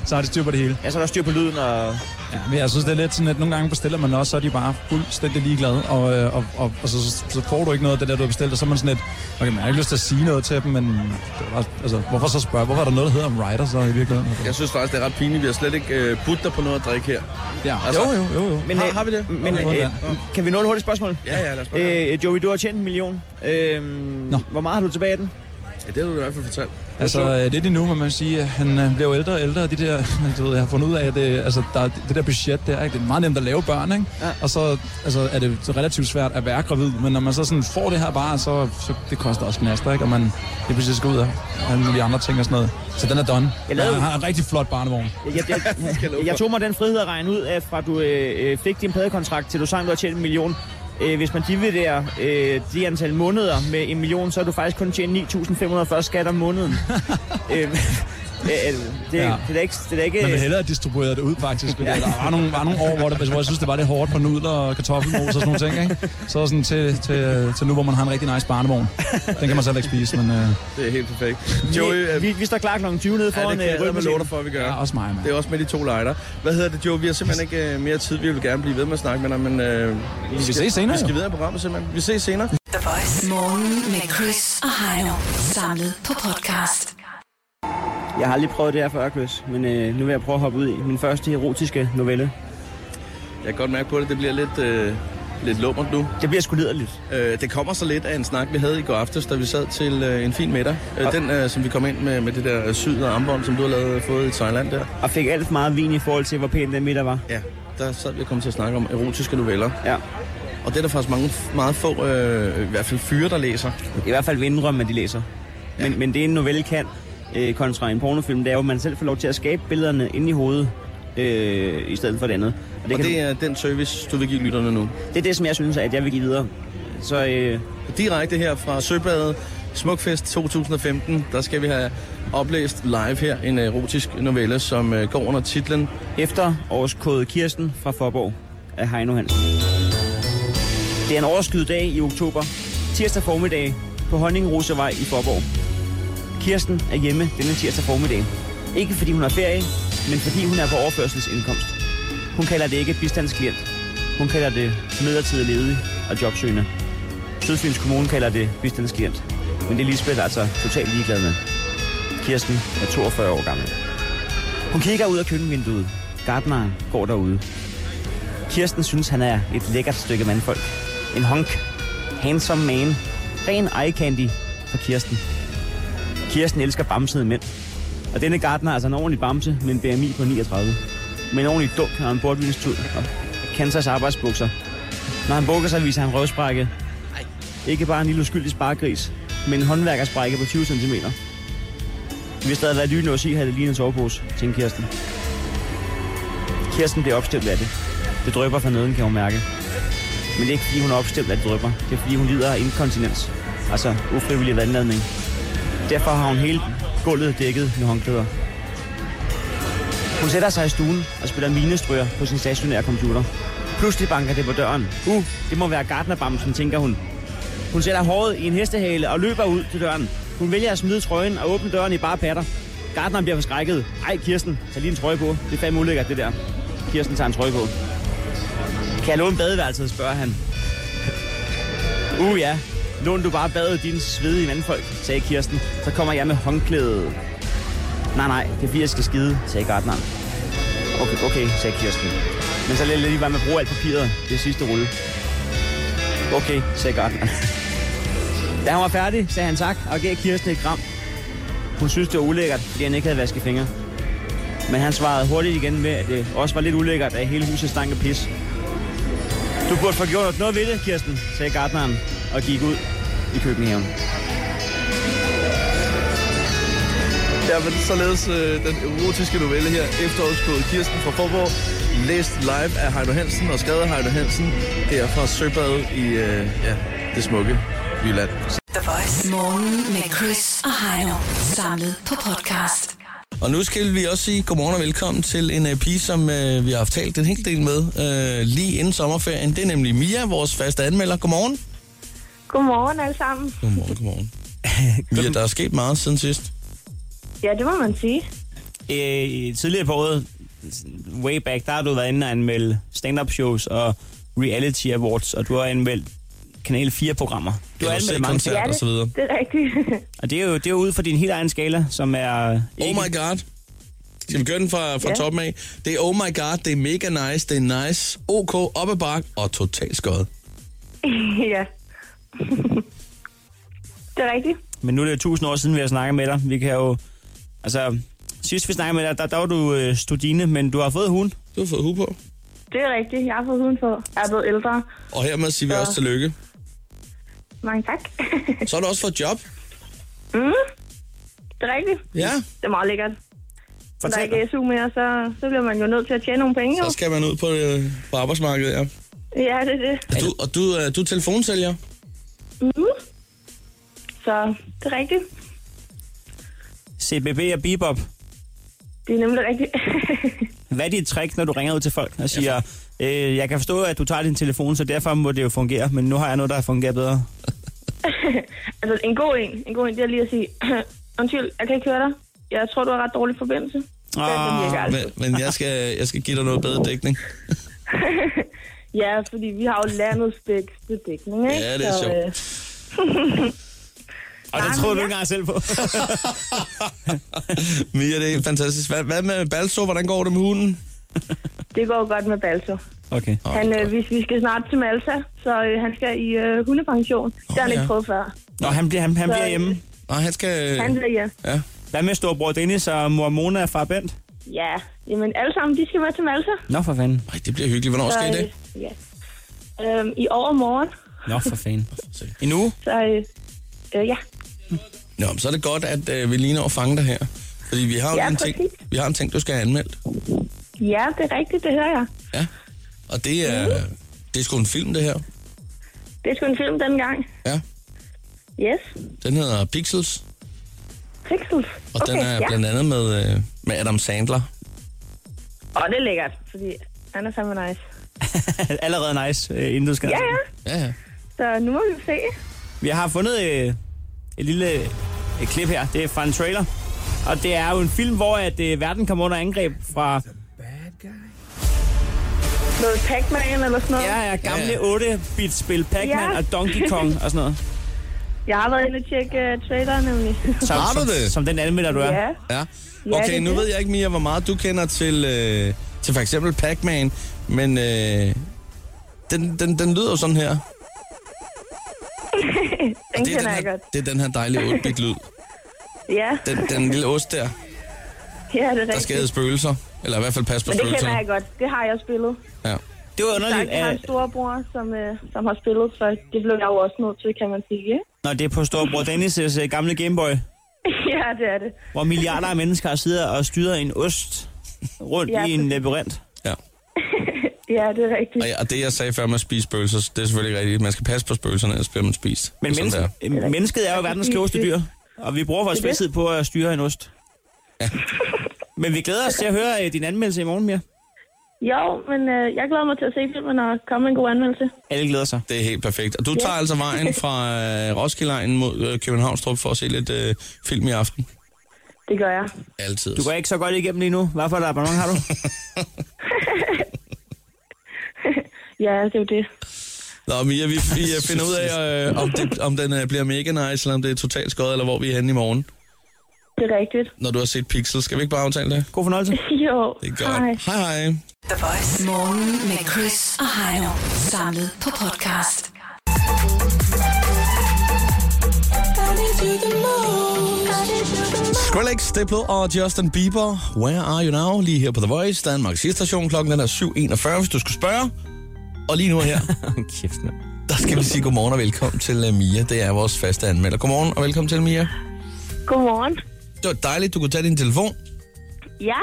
Speaker 7: Så har de styr på det hele.
Speaker 5: Ja, så er der styr på lyden, og
Speaker 7: Ja, men jeg synes, det er lidt sådan, at nogle gange bestiller man også, så er de bare fuldstændig ligeglade, og, øh, og, og, og så, så, så, får du ikke noget af det der, du har bestilt, og så er man sådan lidt, okay, man har ikke lyst til at sige noget til dem, men det er bare, altså, hvorfor så spørge? Hvorfor er der noget, der hedder om rider så i virkeligheden?
Speaker 8: Jeg synes faktisk, det er ret pinligt. Vi har slet ikke øh, budt dig på noget at drikke her.
Speaker 7: Ja,
Speaker 8: altså-
Speaker 7: jo, jo, jo, jo.
Speaker 5: Men,
Speaker 8: Har-
Speaker 5: øh,
Speaker 8: har vi det?
Speaker 5: Men,
Speaker 7: Okay.
Speaker 5: øh, kan vi nå et hurtigt spørgsmål?
Speaker 8: Ja, ja, lad os bare. Øh,
Speaker 5: Øh, Joey, du har tjent en million. Øh, Hvor meget har du tilbage af den?
Speaker 8: ja, det har du i hvert fald fortalt.
Speaker 7: Altså, øh, lidt endnu, må man sige, at han øh, bliver jo ældre og ældre, og de der, <laughs> du ved, jeg har fundet ud af, at det, altså, der, er det der budget der, ikke? det er meget nemt at lave børn, ikke?
Speaker 5: Ja.
Speaker 7: Og så altså, er det så relativt svært at være gravid, men når man så sådan får det her bare, så, så det koster også knaster, ikke? Og man det pludselig skal ud af alle mulige andre ting og sådan noget. Så den er done.
Speaker 5: Jeg
Speaker 7: Jeg
Speaker 5: lavede-
Speaker 7: har en rigtig flot barnevogn.
Speaker 8: <laughs>
Speaker 5: Jeg, jeg, jeg, jeg, jeg tog mig den frihed at regne ud, at fra du øh, øh, fik din pladekontrakt til du sang, du har tjent en million. Øh, hvis man dividerer øh, de antal måneder med en million, så har du faktisk kun tjent 9.540 skat om måneden. øh, øh, øh, det, ja.
Speaker 7: Ja.
Speaker 5: det, er da ikke... Det er da ikke
Speaker 7: Man vil hellere distribuere det ud, faktisk. Ja. Der var nogle, var nogle år, hvor, det, hvor jeg synes, det var lidt hårdt på nudler og kartoffelmos og sådan nogle ting, ikke? Så sådan til, til, til nu, hvor man har en rigtig nice barnevogn. Den kan man selv ikke spise, men øh,
Speaker 8: Det er helt perfekt. Joey, øh,
Speaker 5: Joey, vi, vi, vi står klar kl. 20 nede
Speaker 8: ja, det
Speaker 5: foran
Speaker 8: kan jeg
Speaker 5: øh,
Speaker 8: med love dig
Speaker 5: rødmaskinen.
Speaker 8: for, at vi gør.
Speaker 7: ja, også mig, mand.
Speaker 8: Det er også med de to lejder. Hvad hedder det, Joe? Vi har simpelthen ikke øh, mere tid. Vi vil gerne blive ved med at snakke med dig, men øh, vi skal,
Speaker 7: ses senere,
Speaker 8: Vi skal
Speaker 7: jo.
Speaker 8: videre i programmet simpelthen. Vi ses senere.
Speaker 2: The Voice.
Speaker 3: Morgen med Chris og Heino. Samlet på podcast.
Speaker 5: <laughs> Jeg har aldrig prøvet det her før, Chris, men øh, nu vil jeg prøve at hoppe ud i min første erotiske novelle.
Speaker 8: Jeg kan godt mærke på det, det bliver lidt, øh, lidt lummert nu.
Speaker 5: Det bliver sgu liderligt.
Speaker 8: Øh, det kommer så lidt af en snak, vi havde i går aftes, da vi sad til øh, en fin middag. Øh, den, øh, som vi kom ind med, med det der øh, syd og armbånd, som du har lavet, øh, fået i Thailand der.
Speaker 5: Og fik alt for meget vin i forhold til, hvor pæn den middag var.
Speaker 8: Ja, der sad vi og kom til at snakke om erotiske noveller.
Speaker 5: Ja.
Speaker 8: Og det er der faktisk mange, meget få, øh, i hvert fald fyre, der læser.
Speaker 5: I hvert fald vil indrømme, at de læser. Ja. Men, men det en novelle kan, øh, kontra en pornofilm, det er jo, at man selv får lov til at skabe billederne inde i hovedet, øh, i stedet for det andet. Og det,
Speaker 8: Og
Speaker 5: kan,
Speaker 8: det
Speaker 5: det, er...
Speaker 8: er den service, du vil give lytterne nu.
Speaker 5: det er det, som jeg synes, at jeg vil give videre. Så øh,
Speaker 8: Direkte her fra Søbadet, Smukfest 2015, der skal vi have oplæst live her en erotisk novelle, som øh, går under titlen
Speaker 5: efter årskode Kirsten fra Forborg af Heino Hansen. Det er en overskyet dag i oktober, tirsdag formiddag på Honningrosevej i Forborg. Kirsten er hjemme denne tirsdag formiddag. Ikke fordi hun har ferie, men fordi hun er på overførselsindkomst. Hun kalder det ikke bistandsklient. Hun kalder det midlertidig ledig og jobsøgende. Sydfyns Kommune kalder det bistandsklient. Men det er Lisbeth altså totalt ligeglad med. Kirsten er 42 år gammel. Hun kigger ud af køkkenvinduet. Gardneren går derude. Kirsten synes, han er et lækkert stykke mandfolk. En honk. Handsome man. Ren eye candy for Kirsten. Kirsten elsker bamsede mænd. Og denne gardner er altså en ordentlig bamse med en BMI på 39. Med en ordentlig dunk og en bordvinstud og Kansas arbejdsbukser. Når han bukker sig, viser han røvsprække. Ikke bare en lille uskyldig spargris, men en håndværkersprække på 20 cm. Hvis der havde været lynlås i, havde det lignet en sovepose, tænkte Kirsten. Kirsten bliver opstemt af det. Det drøber fra neden, kan hun mærke. Men det er ikke fordi, hun er opstemt af det drøber. Det er fordi, hun lider af inkontinens. Altså ufrivillig vandladning. Derfor har hun hele gulvet dækket med håndklæder. Hun sætter sig i stuen og spiller minestryger på sin stationære computer. Pludselig banker det på døren. Uh, det må være gardnerbamsen, tænker hun. Hun sætter håret i en hestehale og løber ud til døren. Hun vælger at smide trøjen og åbne døren i bare patter. Gardneren bliver forskrækket. Ej, Kirsten, tag lige en trøje på. Det er fandme ulækkert, det der. Kirsten tager en trøje på. Kan jeg låne badeværelset, spørger han. <laughs> Uh ja, lån du bare badet dine svedige vandfolk, sagde Kirsten. Så kommer jeg med håndklædet. Nej, nej, det er fordi, jeg skal skide, sagde gardneren. Okay, okay, sagde Kirsten. Men så lad lige være med at bruge alt papiret. Det er sidste rulle. Okay, sagde Gartner. Da han var færdig, sagde han tak og gav Kirsten et kram. Hun synes, det var ulækkert, fordi han ikke havde vasket fingre. Men han svarede hurtigt igen med, at det også var lidt ulækkert, at hele huset stank af pis. Du burde få gjort noget ved det, Kirsten, sagde gartneren og gik ud i køkkenhaven.
Speaker 8: Ja, men således øh, den erotiske novelle her, efterårskode Kirsten fra Forborg, læst live af Heino Hansen og skrevet af Heino Hansen, her fra Søbadet i øh, ja, det smukke Jylland.
Speaker 2: The Voice.
Speaker 3: Morgen med Chris og Heino. Samlet på podcast.
Speaker 4: Og nu skal vi også sige godmorgen og velkommen til en øh, pige, som øh, vi har haft talt en hel del med øh, lige inden sommerferien. Det er nemlig Mia, vores faste anmelder. Godmorgen.
Speaker 9: Godmorgen alle sammen.
Speaker 4: Godmorgen, godmorgen. <laughs> Mia, der er sket meget siden sidst.
Speaker 9: Ja, det må man sige.
Speaker 5: Øh, tidligere på året, way back, der har du været inde og anmelde stand-up shows og reality awards, og du har anmeldt Kanal 4-programmer. Du har anmeldt mange ting,
Speaker 4: koncert og så videre.
Speaker 9: Det er rigtigt. <laughs>
Speaker 5: og det er jo, det er jo ud fra din helt egen skala, som er...
Speaker 4: Oh my god. Skal vi gøre den fra, fra
Speaker 9: Ja.
Speaker 4: toppen af? Det er oh my god, det er mega nice, det er nice, ok, op ad bak og totalt skøjet.
Speaker 9: ja. <laughs> det er rigtigt.
Speaker 5: Men nu er det jo tusind år siden, vi har snakket med dig. Vi kan jo... Altså, sidst vi snakkede med dig, der, der var du øh, studine, men du har fået hund.
Speaker 4: Du har fået hue på.
Speaker 9: Det er rigtigt. Jeg har fået huden på. Jeg er blevet ældre.
Speaker 4: Og hermed siger vi også tillykke.
Speaker 9: Mange tak.
Speaker 4: Så har du også fået job.
Speaker 9: mm. Det er rigtigt.
Speaker 4: Ja,
Speaker 9: Det er meget lækkert. Når der
Speaker 5: Fortæl
Speaker 9: ikke er SU mere, så, så bliver man jo nødt til at tjene nogle penge. Jo.
Speaker 4: så skal man ud på, øh, på arbejdsmarkedet, ja.
Speaker 9: Ja, det er det.
Speaker 4: Og du, og du, øh, du er telefonsælger.
Speaker 9: Mm. Så det er rigtigt.
Speaker 5: CBB og Bebop.
Speaker 9: Det er nemlig rigtigt. <laughs>
Speaker 5: Hvad er dit trick, når du ringer ud til folk og siger, øh, jeg kan forstå, at du tager din telefon, så derfor må det jo fungere, men nu har jeg noget, der fungerer bedre.
Speaker 9: altså, en god en, en god en, det er lige at sige, <clears throat> undskyld, jeg kan ikke høre dig. Jeg tror, du har ret dårlig forbindelse. Det er sådan, virker altid.
Speaker 4: Ah, Men, men jeg, skal, jeg skal give dig noget bedre dækning.
Speaker 9: <laughs> Ja, fordi vi har jo landets bedste dækning, ikke?
Speaker 4: Ja, det er
Speaker 9: Så,
Speaker 4: sjovt.
Speaker 9: øh, <laughs>
Speaker 5: Og det
Speaker 9: Nej,
Speaker 5: tror du
Speaker 9: men jeg-
Speaker 5: ikke engang selv på. <laughs>
Speaker 4: Mia, det er fantastisk. Hvad, hvad med Balso? Hvordan går det med hunden?
Speaker 9: det går jo godt med Balto.
Speaker 5: Okay.
Speaker 4: Åh,
Speaker 9: Han, øh, hvis vi skal snart til Malta, så øh, han skal i øh, hundepension. Det har han
Speaker 4: Nå, ja. Øh.
Speaker 9: ikke prøvet før.
Speaker 5: Nå, han bliver, han, han
Speaker 9: Så-
Speaker 5: bliver hjemme.
Speaker 4: Nej, han skal...
Speaker 9: Han bliver ja.
Speaker 4: Ja.
Speaker 5: Hvad med storebror Dennis og mor Mona og far Bent?
Speaker 9: Ja, jamen alle sammen, de skal med til Malta.
Speaker 5: Nå, for fanden.
Speaker 4: Ej, det bliver hyggeligt. Hvornår skal I det?
Speaker 9: øh, ja. Øhm, I overmorgen,
Speaker 5: Nå, for fanden. En uge?
Speaker 9: så øh, øh, ja.
Speaker 4: Nå, men så er det godt, at øh, vi lige når at fange dig her. Fordi vi har jo
Speaker 9: Ja,
Speaker 4: lige en, ting,
Speaker 9: præcis.
Speaker 4: vi har en ting, du skal have anmeldt.
Speaker 9: Ja, det er rigtigt, det hører jeg.
Speaker 4: Ja. Og det er,
Speaker 9: Mhm.
Speaker 4: det er sgu en film, det her.
Speaker 9: Det er sgu en film dengang.
Speaker 4: Ja.
Speaker 9: Yes,
Speaker 4: Den hedder Pixels.
Speaker 9: Pixels.
Speaker 4: Og okay, den er
Speaker 9: ja.
Speaker 4: blandt andet med, øh, med Adam Sandler.
Speaker 9: Og det er lækkert, fordi han er fandme nice.
Speaker 5: <laughs> Allerede nice, øh, inden du skal.
Speaker 9: Ja, ja.
Speaker 4: Ja, ja.
Speaker 9: Så nu må vi se.
Speaker 5: Vi har fundet øh, et lille øh, klip her. Det er fra en trailer. Og det er jo en film, hvor at, øh, verden kommer under angreb fra
Speaker 9: Noget Pac-Man eller sådan noget.
Speaker 5: ja, ja, gamle
Speaker 4: Ja.
Speaker 5: 8-bit-spil Pac-Man
Speaker 9: Ja.
Speaker 5: og Donkey Kong og sådan noget.
Speaker 9: Jeg har været inde og tjekke uh, traileren
Speaker 4: <laughs>
Speaker 9: nemlig.
Speaker 5: Som,
Speaker 4: Har du
Speaker 5: som,
Speaker 4: det?
Speaker 5: Som den anmelder, du er.
Speaker 9: ja.
Speaker 4: ja.
Speaker 9: Ja, det
Speaker 4: Okay,
Speaker 9: er
Speaker 4: nu
Speaker 9: det.
Speaker 4: ved jeg ikke, Mia, hvor meget du kender til, øh, til for eksempel Pac-Man, men øh, den, den, den lyder jo sådan her. Og
Speaker 9: <laughs> Den
Speaker 4: det, er den
Speaker 9: kender jeg
Speaker 4: her
Speaker 9: godt.
Speaker 4: det er den her
Speaker 9: <laughs>
Speaker 4: dejlige 8-bit-lyd.
Speaker 9: Ja,
Speaker 4: Den, den lille ost der,
Speaker 9: ja, det er
Speaker 4: der skal æde
Speaker 9: rigtigt.
Speaker 4: spøgelser. Eller i hvert fald passe på
Speaker 9: Men det kender
Speaker 4: spøgelserne.
Speaker 9: jeg godt. Det har jeg spillet.
Speaker 4: Ja.
Speaker 5: Det var
Speaker 9: Der
Speaker 5: underligt.
Speaker 9: er en
Speaker 5: At,
Speaker 9: storebror, som, øh, som har spillet, så det blev jeg jo også nødt til, kan man sige. ikke? <laughs>
Speaker 5: når det er på storebror Dennis' øh, gamle Gameboy,
Speaker 9: ja, det er det.
Speaker 5: hvor milliarder af mennesker sidder og styrer en ost rundt
Speaker 9: Ja,
Speaker 5: i en
Speaker 9: præcis.
Speaker 5: labyrint.
Speaker 4: Ja.
Speaker 9: <laughs> Ja, det er rigtigt.
Speaker 4: Og, ja, og det, jeg sagde før med at spise spøgelser, det er selvfølgelig rigtigt. Man skal passe på spøgelserne, ellers bliver man spist.
Speaker 5: Men
Speaker 4: Det er sådan,
Speaker 5: menneske,
Speaker 4: Ligesom det er.
Speaker 5: øh, mennesket er jo verdens klogeste dyr, og vi bruger vores
Speaker 9: Det er det.
Speaker 5: fritid på at styre en ost. Men vi glæder os til at høre øh, din anmeldelse i morgen, Mia.
Speaker 9: Jo, men øh, jeg glæder mig til at se filmen og komme med en god anmeldelse.
Speaker 5: Alle glæder sig.
Speaker 4: Det er helt perfekt. Og du tager altså vejen fra øh, Roskildeegnen mod øh, Københavnstrup for at se lidt øh, film i aften.
Speaker 9: Det gør jeg.
Speaker 4: Altid.
Speaker 5: Du går ikke så godt igennem lige nu. Hvad for et abonnement har du?
Speaker 9: <laughs> Ja, det er jo det.
Speaker 4: Nå, Mia, vi, vi øh, finder ud af, øh, om, det, om den øh, bliver mega nice, eller om det er totalt skøjet, eller hvor vi er henne i morgen,
Speaker 9: Det er rigtigt.
Speaker 4: når du har set Pixel. Skal vi ikke bare aftale det?
Speaker 5: God fornøjelse.
Speaker 9: <laughs> Jo,
Speaker 4: Det er
Speaker 9: hej.
Speaker 4: godt. Hej, hej.
Speaker 2: The Voice.
Speaker 3: Morgen med Chris og Heino. Samlet på podcast.
Speaker 4: Skrillex, Diplo og Justin Bieber. Where are you now? Lige her på The Voice. Danmarks station. Klokken den er 7.41, hvis du skulle spørge. Og lige nu og her,
Speaker 5: <laughs> Kæft, mand.
Speaker 4: der skal vi sige godmorgen og velkommen til øh, Mia. Det er vores faste anmelder. Godmorgen og velkommen til, Mia.
Speaker 9: Godmorgen.
Speaker 4: Det var dejligt, du kunne tage din telefon.
Speaker 9: Ja.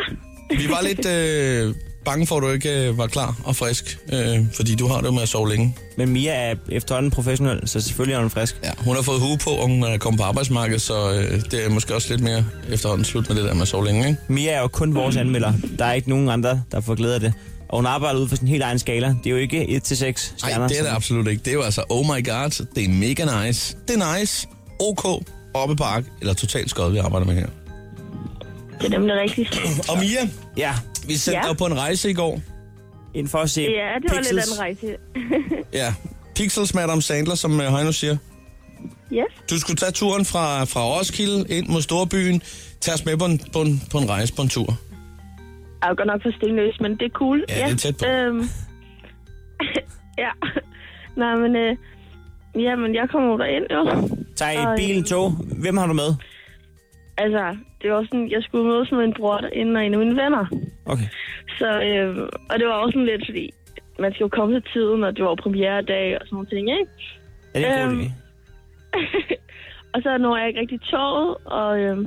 Speaker 4: Vi var lidt øh, bange for, at du ikke øh, var klar og frisk, øh, fordi du har det jo med at sove længe.
Speaker 5: Men Mia er efterhånden professionel, så selvfølgelig er hun frisk.
Speaker 4: Ja, hun har fået hue på, og hun er kommet på arbejdsmarkedet, så øh, det er måske også lidt mere efterhånden slut med det der med at sove længe, ikke?
Speaker 5: Mia er jo kun vores anmelder. Der er ikke nogen andre, der får glæde af det. Og hun arbejder ud for sin helt egen skala. Det er jo ikke 1-6 stjerner.
Speaker 4: Nej, det er det
Speaker 5: som-
Speaker 4: absolut ikke. Det er jo altså, oh my god, det er mega nice. Det er nice, ok, oppe park, eller totalt skød, vi arbejder med her.
Speaker 9: Det er nemlig rigtigt.
Speaker 4: Og Mia,
Speaker 5: Ja,
Speaker 4: vi sendte
Speaker 9: Ja.
Speaker 4: dig på en rejse i går.
Speaker 5: inden for at se
Speaker 9: Ja, det var
Speaker 5: Pixels.
Speaker 9: lidt af en rejse.
Speaker 4: Ja, Pixels Madame Sandler, som øh, Heino siger.
Speaker 9: yes.
Speaker 4: Du skulle tage turen fra, fra Roskilde ind mod Storbyen, tage os med på en, på en, på en rejse, på en tur.
Speaker 9: Jeg er jo godt nok for stenløs, men det er cool.
Speaker 4: Ja, det er tæt på.
Speaker 9: Øhm, <laughs> ja. Nej, men... Øh, jamen, jeg kommer jo derind, jo.
Speaker 5: Tag
Speaker 9: Og,
Speaker 5: et
Speaker 9: øh,
Speaker 5: bil, tog. Hvem har du med?
Speaker 9: Altså, det var sådan, jeg skulle mødes med en bror derinde og en af mine venner.
Speaker 5: Okay.
Speaker 9: Så, øh, og det var også sådan lidt, fordi man skal jo komme til tiden, og det var jo premieredag og sådan nogle ting, ikke?
Speaker 5: Er det en god
Speaker 9: Øhm,
Speaker 5: idé?
Speaker 9: <laughs> Og så når jeg ikke rigtig toget, og øh,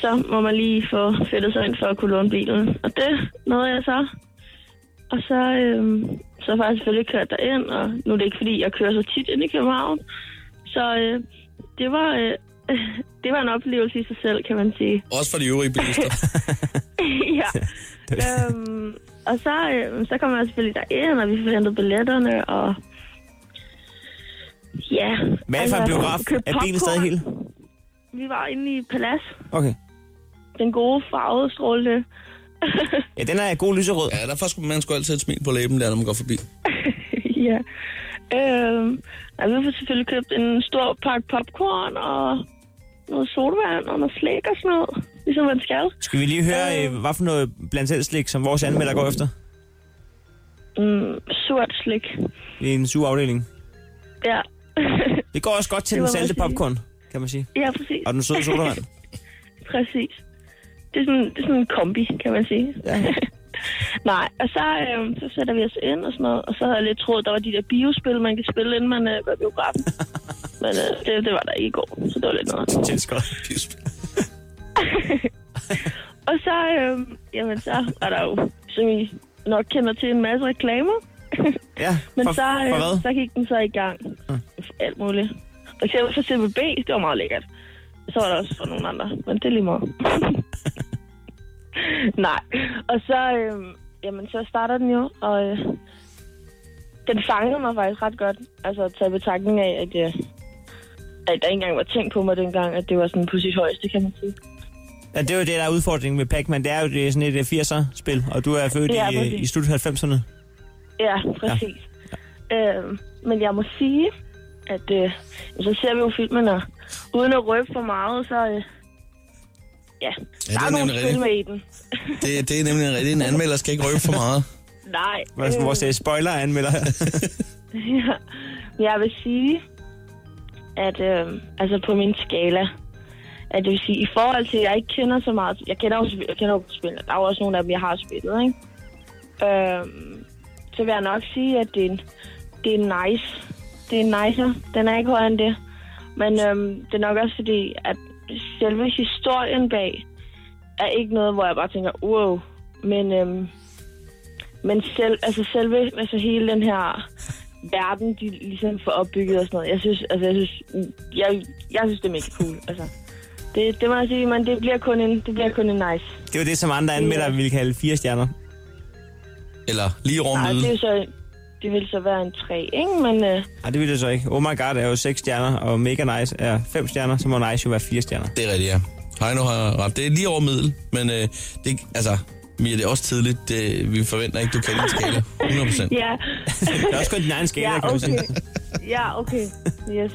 Speaker 9: så må man lige få fældet sig ind for at kunne låne bilen. Og det nåede jeg så. Og så, øh, så har jeg selvfølgelig kørt derind, og nu er det ikke fordi, jeg kører så tit ind i København. Så øh, det var... Øh, <laughs> det var en oplevelse i sig selv, kan man sige.
Speaker 4: Også for de øvrige bilister.
Speaker 9: <laughs> ja. øhm, og så, øhm, så kom jeg selvfølgelig derind, og vi forhentede billetterne, og... Ja.
Speaker 5: Hvad er det for en biograf?
Speaker 9: købte
Speaker 5: Er bilen stadig
Speaker 9: popcorn.
Speaker 5: helt?
Speaker 9: Vi var inde i Palads.
Speaker 5: Okay.
Speaker 9: Den gode farvede strålende.
Speaker 5: <laughs> Ja, den er god lyserød.
Speaker 4: ja, derfor skulle man skulle altid have et smil på læben, der, når man går forbi.
Speaker 9: <laughs> ja. Øhm, og vi har selvfølgelig købt en stor pakke popcorn, og noget sodavand, og noget slik og sådan noget. Ligesom man skal.
Speaker 5: Skal vi lige høre, øh, hvad for noget blandt selv slik, som vores anmelder går efter?
Speaker 9: Mm, sort slik.
Speaker 5: I en sur afdeling.
Speaker 9: Ja.
Speaker 5: Det går også godt til
Speaker 9: Det
Speaker 5: den
Speaker 9: må man
Speaker 5: salte
Speaker 9: sige.
Speaker 5: popcorn, kan man sige.
Speaker 9: ja, præcis.
Speaker 5: Og den søde sodavand.
Speaker 9: <laughs> Præcis. Det er, sådan, det er sådan en kombi, kan man sige.
Speaker 5: Ja.
Speaker 9: <laughs> Nej, og så, øh, så sætter vi os ind og sådan noget, og så havde jeg lidt troet, der var de der biospil, man kan spille, inden man øh, var i
Speaker 5: <laughs>
Speaker 9: biografen. Men øh, det, det var der ikke i går, så det var lidt noget.
Speaker 5: Tjens godt.
Speaker 9: Og så, øh, jamen, så var der jo, som I nok kender til, en masse reklamer.
Speaker 5: <laughs> Ja,
Speaker 9: Men
Speaker 5: for,
Speaker 9: så, øh,
Speaker 5: for hvad?
Speaker 9: så gik den så i gang. For alt muligt. For eksempel for CBB, det var meget lækkert. Så var der også for nogle andre, men det er lige meget. <laughs> Nej. Og så, øh, jamen, så starter den jo, og øh, den fangede mig faktisk ret godt. Altså, taget i betragtning af, at, øh, at der ikke engang var tænkt på mig dengang, at det var sådan på sit højeste, kan man sige.
Speaker 5: Ja, det er jo det, der er udfordringen med Pac-Man. Det er jo det er sådan et øh, 80'er-spil, og du er født
Speaker 9: Ja,
Speaker 5: i, øh,
Speaker 9: præcis.
Speaker 5: i slut 90'erne.
Speaker 9: Ja, præcis. Ja. Øhm, men jeg må sige, at øh, så ser vi jo filmen, og uden at røbe for meget, så... Øh, ja,
Speaker 4: Ja, det
Speaker 9: der er
Speaker 4: er
Speaker 9: nogle
Speaker 4: nemlig
Speaker 9: spil med i den.
Speaker 4: Det, det er nemlig rigtigt. En anmelder skal ikke røbe for meget.
Speaker 9: Nej.
Speaker 5: Hvad skal <laughs> vores øh, spoiler anmelder her?
Speaker 9: <laughs> ja. Men Jeg vil sige, at øh, altså på min skala, at det vil sige, i forhold til, at jeg ikke kender så meget, jeg kender jo, jeg kender jo spillene, der er jo også nogle af dem, jeg har spillet, ikke? Øh, så vil jeg nok sige, at det er, en, det er en nice. Det er en nicer. Den er ikke højere end det. Men øhm, det er nok også fordi, at selve historien bag er ikke noget, hvor jeg bare tænker, wow. Men, øhm, men selv, altså selve, altså hele den her verden, de ligesom får opbygget og sådan noget. Jeg synes, altså jeg synes, jeg, jeg synes det er mega cool. Altså, det, det må jeg sige, men det bliver kun en, det bliver kun en nice.
Speaker 5: Det er jo det, som andre anmeldere ville kalde fire stjerner.
Speaker 4: Eller lige rum
Speaker 9: Nej, det er
Speaker 4: lyde.
Speaker 9: jo så, det vil så være en tre, ikke? Men øh,
Speaker 5: Nej, det ville det så ikke. Oh my god er jo 6 stjerner, og Mega Nice er 5 stjerner, så må Nice jo være 4 stjerner.
Speaker 4: <laughs> Det er rigtigt, ja. Hej, nu har jeg ret. Det er lige over middel, men øh, det, er ikke- altså, Mia, det er også tidligt. Det, vi forventer ikke, du kan din skala. 100
Speaker 9: ja, <laughs>
Speaker 5: Det er også kun din egen skala,
Speaker 9: ja,
Speaker 5: kan man sige.
Speaker 9: okay. Ja, okay. Yes.
Speaker 4: Nå,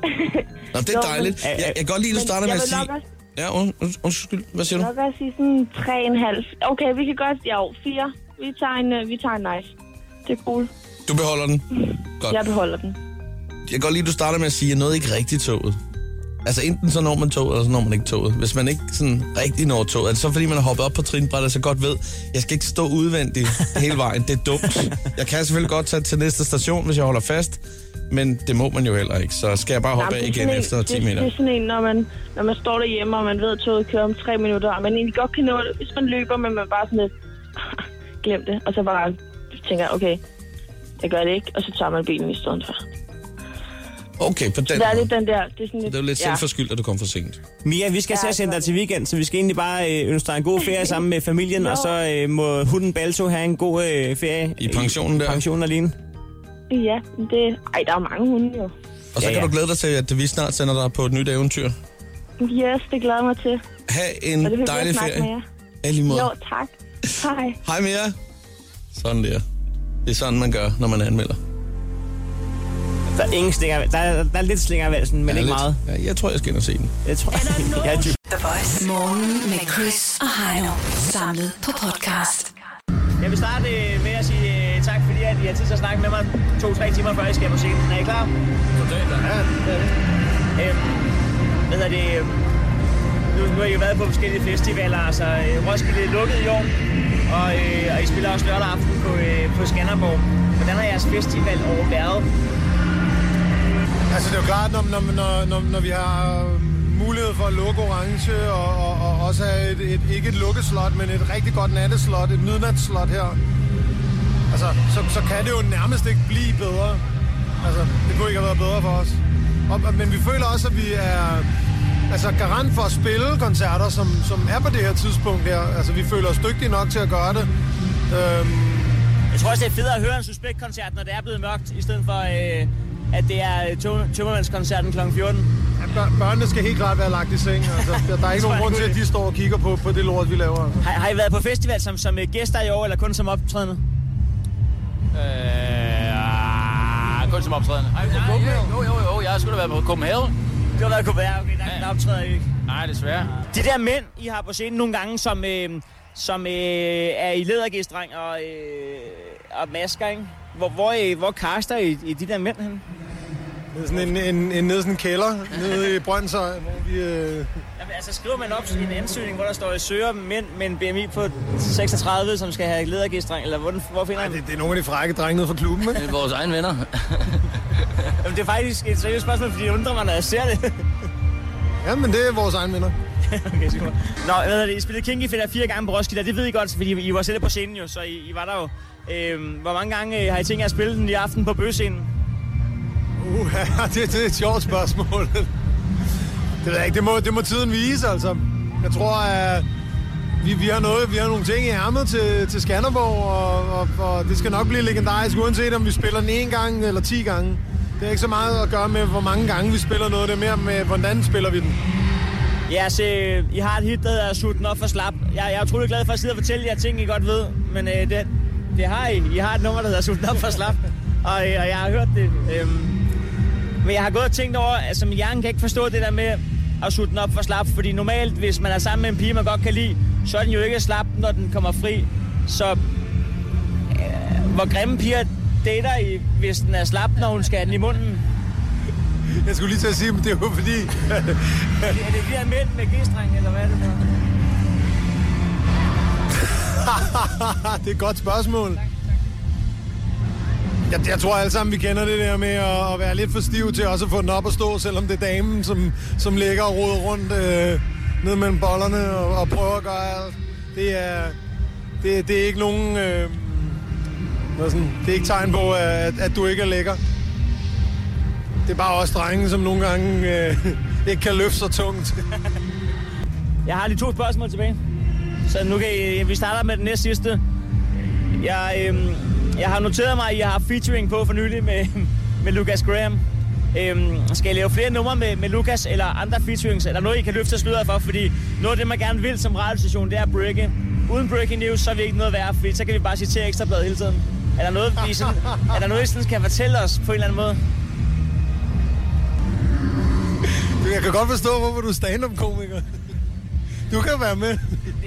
Speaker 4: det er
Speaker 9: Jo, men-
Speaker 4: dejligt. Jeg, jeg kan godt lide, at du
Speaker 9: Men
Speaker 4: starter med at
Speaker 9: jeg vil
Speaker 4: sige...
Speaker 9: nok også,
Speaker 4: Ja, und- und- undskyld. Hvad siger du?
Speaker 9: nok også sige sådan tre en halv. Okay, vi kan godt, ja, jo, fire. Vi tager en, øh, vi tager en nice. Det er cool.
Speaker 4: Du beholder den. Godt.
Speaker 9: Jeg beholder den.
Speaker 4: jeg kan godt lide, at du starter med at sige, at noget ikke rigtigt toget. Altså enten så når man toget, eller så når man ikke toget. Hvis man ikke sådan rigtig når toget, er det så fordi man har hoppet op på trinbrættet, så godt ved, jeg skal ikke stå udvendigt hele vejen. Det er dumt. Jeg kan selvfølgelig godt tage til næste station, hvis jeg holder fast, men det må man jo heller ikke. Så skal jeg bare hoppe
Speaker 9: Jamen,
Speaker 4: af
Speaker 9: det er
Speaker 4: igen
Speaker 9: sådan
Speaker 4: efter
Speaker 9: en-
Speaker 4: 10
Speaker 9: det, Det
Speaker 4: meter.
Speaker 9: er sådan en, når man, når man står derhjemme, og man ved, at toget kører om tre minutter, og man egentlig godt kan nå det, hvis man løber, men man bare sådan lidt, <laughs> glem det, og så bare tænker, okay, jeg gør det ikke, og så tager man bilen i stedet for.
Speaker 4: Okay, på
Speaker 9: Så
Speaker 4: den
Speaker 9: der er
Speaker 4: måde.
Speaker 9: lidt den der, det er sådan lidt,
Speaker 4: Det er jo lidt
Speaker 9: ja.
Speaker 4: selvforskyldt, at du kom for sent.
Speaker 5: Mia, vi skal
Speaker 9: Ja,
Speaker 5: til at sende dig til weekend, så vi skal egentlig bare øh, ønske dig en god ferie sammen med familien, og så øh, må hunden Balto have en god øh, ferie.
Speaker 4: I pensionen der.
Speaker 5: Pensionen alene.
Speaker 9: Ja, det, ej, der er mange hunde jo.
Speaker 4: Og så
Speaker 5: Ja,
Speaker 4: kan
Speaker 5: ja.
Speaker 4: du glæde dig til, at vi snart sender dig på et nyt eventyr.
Speaker 9: Yes, det glæder jeg mig til.
Speaker 4: Ha'
Speaker 9: Og det
Speaker 4: en
Speaker 9: vil jeg
Speaker 4: dejlig
Speaker 9: snakke med jer.
Speaker 4: ferie. Alle måde.
Speaker 9: Jo, tak. Hej.
Speaker 4: Hej Mia. Sådan der. Det er sådan, man gør, når man anmelder.
Speaker 5: Der er ingen slinger, der, er, der er lidt slinger i valsen, men ja, ikke
Speaker 4: lidt.
Speaker 5: meget.
Speaker 4: Ja, jeg tror, jeg skal ind og se den.
Speaker 5: Jeg tror, <laughs> jeg er dyb.
Speaker 2: The Voice.
Speaker 3: Morgen med Chris og Heino. Samlet på podcast.
Speaker 5: Jeg vil starte øh, med at sige øh, tak, fordi at I har tid til at snakke med mig to-tre timer, før I skal på scenen. Er I klar? Ja, øhm, hvad hedder det? øhm, Nu, nu har I jo været på forskellige festivaler, altså øh, Roskilde er lukket i år, og, øh, og I spiller også lørdag aften på, øh, på Skanderborg. Hvordan har jeres festival over været?
Speaker 10: Altså det er jo klart, når, når, når, når, når vi har øh, mulighed for at lukke orange, og, og, og også have et, et, ikke et lukket slot, men et rigtig godt natteslot, et midnatsslot her, altså, så, så kan det jo nærmest ikke blive bedre. Altså, det kunne ikke have været bedre for os. Og, og- men vi føler også, at vi er altså, garant for at spille koncerter, som, som er på det her tidspunkt her. Altså, vi føler os dygtige nok til at gøre det. Øhm,
Speaker 5: Jeg tror også, det er federe at høre en suspektkoncert, når det er blevet mørkt, i stedet for, øh, at det er tømmermandskoncerten kl. 14.
Speaker 10: ja, bør- børnene skal helt klart være lagt i seng. Altså, der-
Speaker 5: <laughs>
Speaker 10: der er ikke nogen grund til, at de står og kigger på, på det lort, vi laver. Altså.
Speaker 5: Har, har I været på festival som, som øh, gæster i år, eller kun som optrædende?
Speaker 11: Øh, kun som optrædende. Ej, på Copenhagen? Jo, jo, jo, jeg har sgu da været på Copenhagen.
Speaker 5: Det har været Copenhagen, okay, der, der optræder I ikke.
Speaker 11: Nej, desværre.
Speaker 5: De der mænd, I har på scenen nogle gange, som, øh, som øh, er i lædergestreng og, øh, og masker, ikke? Hvor, hvor, øh, hvor kaster I, I de der mænd hen?
Speaker 10: Det er sådan en, en, en, nede i sådan en kælder, nede i Brøndshøj, hvor vi... Øh,
Speaker 5: Jamen, altså skriver man op i en ansøgning, hvor der står, at søger mænd med en BMI på 36, som skal have lædergestreng, eller hvor, hvor finder
Speaker 10: ej,
Speaker 5: man det?
Speaker 10: det, det er nogle af de frække drenge nede fra klubben, ikke?
Speaker 11: Det er vores egne venner.
Speaker 5: <laughs> Jamen, det er faktisk et seriøst spørgsmål, fordi jeg undrer mig, når jeg ser det.
Speaker 10: Ja, men det er vores egen venner.
Speaker 5: <laughs> okay, super. Nå, hvad hedder det? I spillede Kinky Fedt fire gange på Roskilde, og det ved I godt, fordi I var selv på scenen jo, så I, I var der jo. Øhm, hvor mange gange øh, har I tænkt jer at spille den i aften på bøgescenen?
Speaker 10: Uh, <laughs> det, det er et sjovt spørgsmål. det ved jeg ikke, det må, det må tiden vise, altså. Jeg tror, at vi, vi, har, noget, vi har nogle ting i ærmet til, til Skanderborg, og, og, og, det skal nok blive legendarisk, uanset om vi spiller den en gang eller ti gange. Det er ikke så meget at gøre med, hvor mange gange vi spiller noget, det er mere med, hvordan spiller vi den.
Speaker 5: Ja, så øh, I har et hit, der hedder Sut den op for slap. Jeg, jeg er utrolig glad for at sidde og fortælle jer ting, I godt ved, men øh, det, det har I. I har et nummer, der hedder Sut den op for <laughs> slap, og, øh, og jeg har hørt det. Øhm, men jeg har gået og tænkt over, at altså, min hjerne kan ikke forstå det der med at sutte den op for slap, fordi normalt, hvis man er sammen med en pige, man godt kan lide, så er den jo ikke slap, når den kommer fri. Så øh, hvor grimme piger dater I, hvis den er slap, når hun skal have den i munden?
Speaker 10: Jeg skulle lige til at sige, men det er jo fordi,
Speaker 5: Er <laughs> det, er det de her mænd med g-streng, eller hvad er det for?
Speaker 10: <laughs> det er et godt spørgsmål. Jeg, jeg tror alle sammen, vi kender det der med at, at være lidt for stiv til også at få den op at stå, selvom det er damen, som, som ligger og roder rundt øh, ned mellem bollerne og, og prøver at gøre alt. Det er, det, det er ikke nogen... Øh, hvad sådan, det er ikke tegn på, at, at du ikke er lækker. Det er bare os drenge, som nogle gange øh, <laughs> ikke kan løfte så tungt.
Speaker 5: <laughs> Jeg har lige to spørgsmål tilbage. Så nu kan I, vi starter med den næste sidste. Jeg, øhm, jeg har noteret mig, at I har haft featuring på for nylig med, <laughs> med Lucas Graham. Øhm, skal I lave flere numre med, med Lucas eller andre featurings? Er der noget, I kan løfte sløret for? Fordi noget af det, man gerne vil som radiostation, det er at breake. Uden breaking news, så er vi ikke noget værd, fordi så kan vi bare citere ekstrabladet hele tiden. Er der noget, I sådan, er der noget, I sådan kan fortælle os på en eller anden måde?
Speaker 10: Jeg kan godt forstå, hvorfor du er stand-up-komiker. Du kan være med.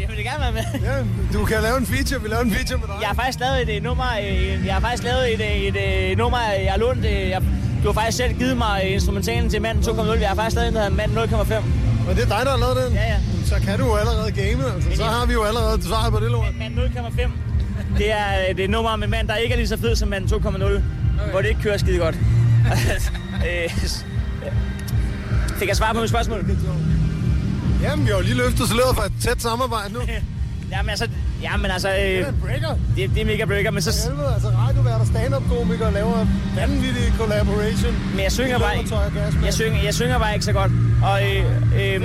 Speaker 5: Jeg vil gerne være med.
Speaker 10: Ja, du kan lave en feature. Vi laver en feature med dig.
Speaker 5: Jeg har faktisk lavet et øh, nummer, øh, jeg har faktisk lavet et, øh, et, øh, nummer, øh, jeg har lånt, øh, jeg, Du har faktisk selv givet mig øh, instrumentalen til manden 2.0. Jeg har faktisk stadig en, der hedder manden 0.5.
Speaker 10: Men det er dig, der har lavet den?
Speaker 5: Ja, ja.
Speaker 10: Så kan du jo allerede game, altså. Så har vi jo allerede svaret på det lort.
Speaker 5: Mand 0.5. Det er øh, det er nummer med en mand, der ikke er lige så fed som manden 2.0. Hvor det ikke kører skide godt. <laughs> Øh, Fik jeg svar på mit spørgsmål?
Speaker 10: Jamen, vi har jo lige løftet sløret for et tæt samarbejde nu.
Speaker 5: <laughs> Jamen altså, jamen, altså øh,
Speaker 10: Det er en breaker.
Speaker 5: det, det er mega breaker, men
Speaker 10: For
Speaker 5: så...
Speaker 10: helvede, altså radiovært og stand-up-komiker laver vanvittige collaboration.
Speaker 5: Men jeg synger
Speaker 10: De
Speaker 5: bare
Speaker 10: lugter tøj og gas,
Speaker 5: ikke. Jeg synger, jeg synger bare ikke så godt. Og, øh, øh,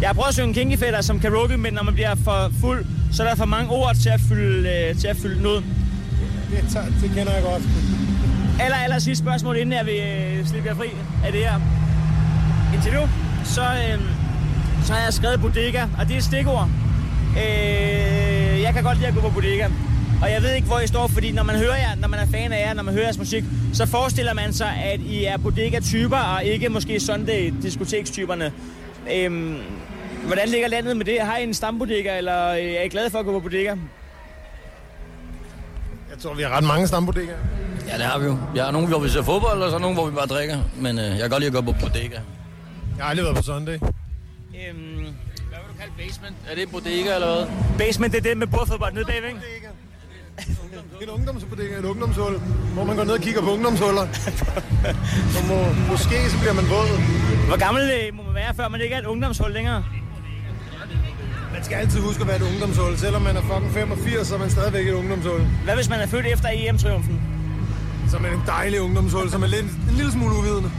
Speaker 5: jeg har prøvet at synge en kinky fætter som karaoke, men når man bliver for fuld, så er der for mange ord til at fylde, øh, til at fylde noget.
Speaker 10: Det, tager, det kender jeg godt.
Speaker 5: Aller, aller sidste spørgsmål, inden jeg vil øh, slippe jer fri af det her interview. Så, øh, så har jeg skrevet bodega, og det er et stikord. Øh, jeg kan godt lide at gå på bodega. Og jeg ved ikke, hvor I står, fordi når man hører jer, når man er fan af jer, når man hører jeres musik, så forestiller man sig, at I er bodega-typer, og ikke måske Sunday-diskotekstyperne. Øhm, hvordan ligger landet med det? Har I en stambodega, eller øh, er I glade for at gå på bodega?
Speaker 10: Jeg tror, vi har ret mange stambodega.
Speaker 12: Ja, det har vi jo. Vi har nogen, hvor vi ser fodbold, og så nogen, hvor vi bare drikker. Men øh, jeg kan godt lide at gå på bodega.
Speaker 10: Jeg har aldrig været på Sunday.
Speaker 5: Øhm,
Speaker 11: hvad vil du kalde basement? Er det en bodega eller hvad?
Speaker 5: Basement, det er det med bordfodbold nede bagved, ikke?
Speaker 10: En ungdomsbodega, et ungdomshul, hvor man går ned og kigger på ungdomshuller. Så må, måske så bliver man våd.
Speaker 5: Hvor gammel øh, må man være, før man ikke er et ungdomshul længere?
Speaker 10: Man skal altid huske at være et ungdomshul. Selvom man er fucking 85, så er man stadigvæk et ungdomshul.
Speaker 5: Hvad hvis man er født efter E EM-triumfen?
Speaker 10: Så er man en dejlig ungdomshul, som er lidt, en lille smule
Speaker 5: <laughs>
Speaker 10: uvidende.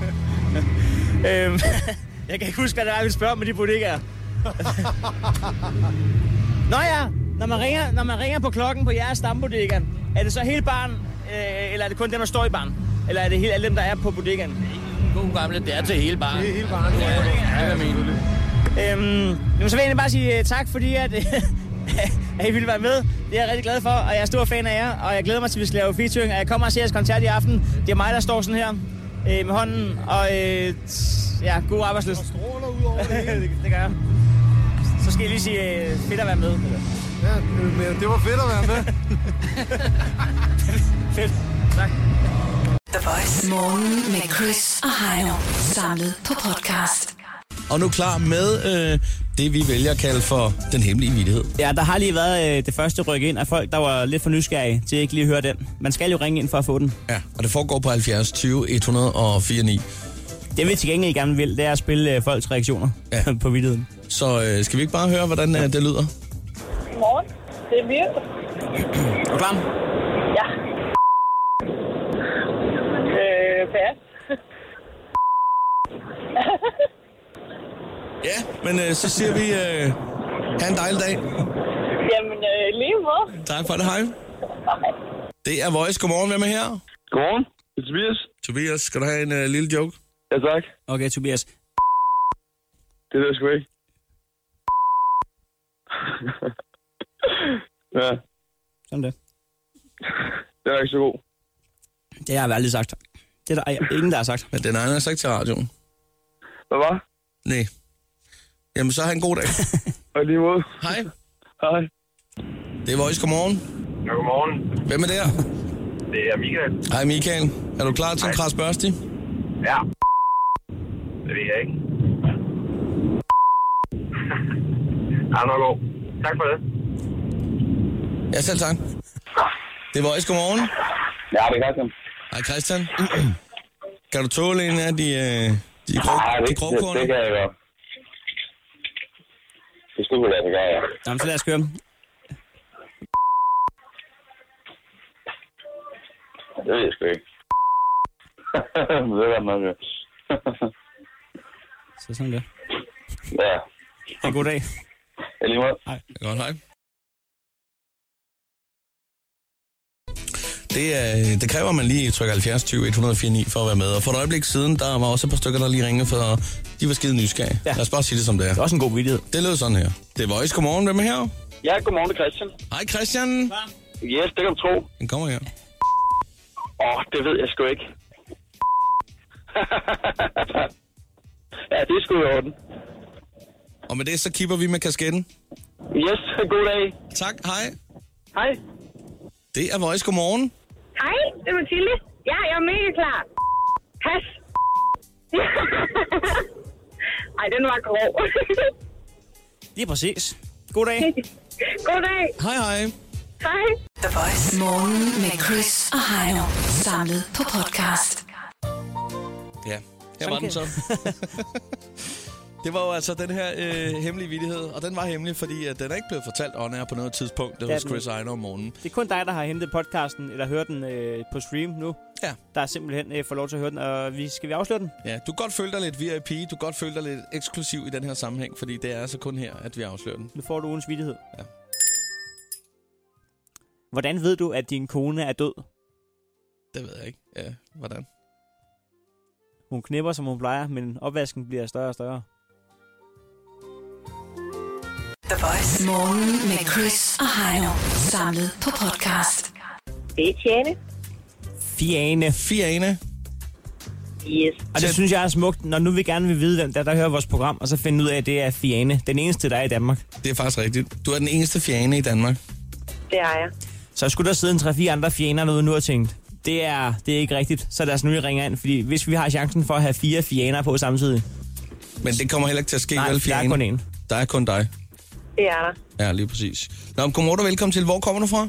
Speaker 5: øhm, <laughs> jeg kan ikke huske, hvad det var, jeg ville spørge om med de bodegaer. <laughs> Nå ja, når man, ringer, når man ringer på klokken på jeres stambodega, er det så hele barn, øh, eller er det kun dem, der står i barn? Eller er det hele, alle dem, der er på bodegaen?
Speaker 11: God gamle, det er til hele barnet.
Speaker 10: Det er hele barnet.
Speaker 11: Ja, ja, ja,
Speaker 5: Øhm, jamen, så vil jeg egentlig bare sige øh, tak, fordi at, <laughs> øh, at I ville være med. Det er jeg rigtig glad for, og jeg er stor fan af jer, og jeg glæder mig til, at vi skal lave featuring, og jeg kommer og ser jeres koncert i aften. Det er mig, der står sådan her øh, med hånden, og øh, t- ja, god arbejdsløst. Og
Speaker 10: stråler ud over det hele.
Speaker 5: <laughs> det gør jeg. Så skal jeg lige sige, øh, fedt at være med.
Speaker 10: Ja, øh, men det var fedt at være med.
Speaker 5: fedt. Tak.
Speaker 3: The Voice. Morgen med Chris og Heino. Samlet på podcast.
Speaker 4: Og nu klar med øh, det, vi vælger at kalde for den hemmelige vidighed.
Speaker 5: Ja, der har lige været øh, det første ryk ind af folk, der var lidt for nysgerrige til at ikke lige høre den. Man skal jo ringe ind for at få den.
Speaker 4: Ja, og det foregår på 70 20 104 9.
Speaker 5: Det vi til gengæld gerne vil, det er at spille øh, folks reaktioner ja. <laughs> på vidtigheden.
Speaker 4: Så øh, skal vi ikke bare høre, hvordan øh, det lyder?
Speaker 13: Godmorgen. Det er Birte.
Speaker 5: Er du klar?
Speaker 13: Ja. Øh,
Speaker 9: <laughs>
Speaker 13: pas.
Speaker 4: Ja, men øh, så siger vi, øh, have en dejlig dag.
Speaker 13: Jamen, øh, lige måde.
Speaker 4: Tak for det, hej. Det er Voice. Godmorgen, hvem er her?
Speaker 14: Godmorgen, det er Tobias.
Speaker 4: Tobias, skal du have en øh, lille joke?
Speaker 14: Ja, tak.
Speaker 5: Okay, Tobias.
Speaker 14: Det ved jeg sgu ikke. ja,
Speaker 5: Sådan det.
Speaker 14: det er ikke så god.
Speaker 5: Det har jeg aldrig sagt. Det er der ej- ingen, der har sagt.
Speaker 4: Men den egen har sagt til radioen.
Speaker 14: Hvad var?
Speaker 4: Nej. Jamen, så have en god dag.
Speaker 14: <laughs> Og lige måde.
Speaker 4: Hej.
Speaker 14: Hej.
Speaker 4: Det er Voice. Godmorgen.
Speaker 15: Ja, godmorgen.
Speaker 4: Hvem er der?
Speaker 15: Det er Michael.
Speaker 4: Hej, Michael. Er du klar til en kras børsti?
Speaker 15: Ja. Det ved jeg
Speaker 16: <laughs>
Speaker 15: ikke. Ja, nok god. Tak for det.
Speaker 4: Ja, selv tak. Det er Voice. Godmorgen.
Speaker 14: Ja, det er Christian.
Speaker 4: Hej, Christian. <clears throat> kan du tåle en af de, øh, de, grå,
Speaker 14: Nej,
Speaker 4: de
Speaker 14: det,
Speaker 4: grå
Speaker 14: det, det kan jeg godt. Det skulle kunne lade sig gøre, ja.
Speaker 5: Jamen, så lad os køre dem.
Speaker 14: Det ved jeg sgu
Speaker 16: <laughs>
Speaker 14: ikke. det er godt nok, ja.
Speaker 5: Så sådan det.
Speaker 14: Ja,
Speaker 5: Ha' en god dag.
Speaker 14: i lige måde.
Speaker 5: Hej.
Speaker 4: Godt, hej. Det, er, det kræver, at man lige trykker 70 20 104 9 for at være med. Og for et øjeblik siden, der var også et par stykker, der lige ringede, for de var skide nysgerrige. Ja. Lad os bare sige det, som det er. Det er
Speaker 5: også en god vidighed.
Speaker 4: Det lød sådan her. Det er Voice. Godmorgen. Hvem er her?
Speaker 15: Ja, godmorgen, det er Christian.
Speaker 4: Hej, Christian.
Speaker 15: Yes, det kan du tro.
Speaker 4: Den kommer her.
Speaker 15: Åh, oh, det ved jeg sgu ikke.
Speaker 5: <laughs>
Speaker 15: ja, det er sgu i orden.
Speaker 4: Og med det, så kipper vi med kasketten.
Speaker 15: Yes, god dag.
Speaker 4: Tak, hej.
Speaker 15: Hej.
Speaker 4: Det er Voice. Godmorgen.
Speaker 16: Hej, det er Mathilde. Ja, jeg er mega klar.
Speaker 13: Pas.
Speaker 9: <laughs>
Speaker 13: Ej, den var grov.
Speaker 5: Lige præcis. God dag.
Speaker 13: <laughs> Goddag.
Speaker 4: Hej, hej.
Speaker 13: Hej.
Speaker 3: The Voice. Morgen med Chris og Heino. Samlet på podcast.
Speaker 4: Ja, her var den så. <laughs> Det var jo altså den her øh, hemmelige vidighed, og den var hemmelig, fordi at den er ikke blevet fortalt on air på noget tidspunkt. Det
Speaker 5: Det
Speaker 4: var
Speaker 5: er
Speaker 4: hos
Speaker 5: den
Speaker 4: Chris
Speaker 5: ikke.
Speaker 4: Ejner om morgenen.
Speaker 5: Det er kun dig, der har hentet podcasten, eller hørt den øh, på stream nu.
Speaker 4: Ja.
Speaker 5: Der er simpelthen øh, får lov til at høre den, og vi, skal vi afsløre den?
Speaker 4: Ja, du kan godt føle dig lidt VIP, du kan godt føle dig lidt eksklusiv i den her sammenhæng, fordi det er altså kun her, at vi afslører den.
Speaker 5: Nu får du ugens vidighed.
Speaker 4: Ja.
Speaker 5: Hvordan ved du, at din kone er død?
Speaker 4: Det ved jeg ikke. Ja, hvordan?
Speaker 5: Hun knipper, som hun plejer, men opvasken bliver større og større.
Speaker 3: The Voice. Morgen med Chris og Heino. Samlet på podcast.
Speaker 13: Det er Tjane.
Speaker 5: Fiane.
Speaker 4: Fiane.
Speaker 13: Yes.
Speaker 5: Og det synes jeg er smukt, når nu vi gerne vil vide, hvem der, er, der hører vores program, og så finde ud af, at det er Fiane. Den eneste, der er i Danmark.
Speaker 4: Det er faktisk rigtigt. Du er den eneste Fiane i Danmark.
Speaker 13: Det er jeg.
Speaker 5: Så skulle der sidde en 3-4 andre fjender derude nu og tænkt, det er, det er ikke rigtigt, så lad os nu lige ringe ind, fordi hvis vi har chancen for at have fire fjener på samtidig.
Speaker 4: Men det kommer heller ikke til at ske,
Speaker 5: Nej,
Speaker 4: vel,
Speaker 5: der er
Speaker 4: Fiane?
Speaker 5: kun en.
Speaker 4: Der er kun dig.
Speaker 13: Det er der.
Speaker 4: Ja, lige præcis. Nå, men godmorgen og velkommen til. Hvor kommer du fra?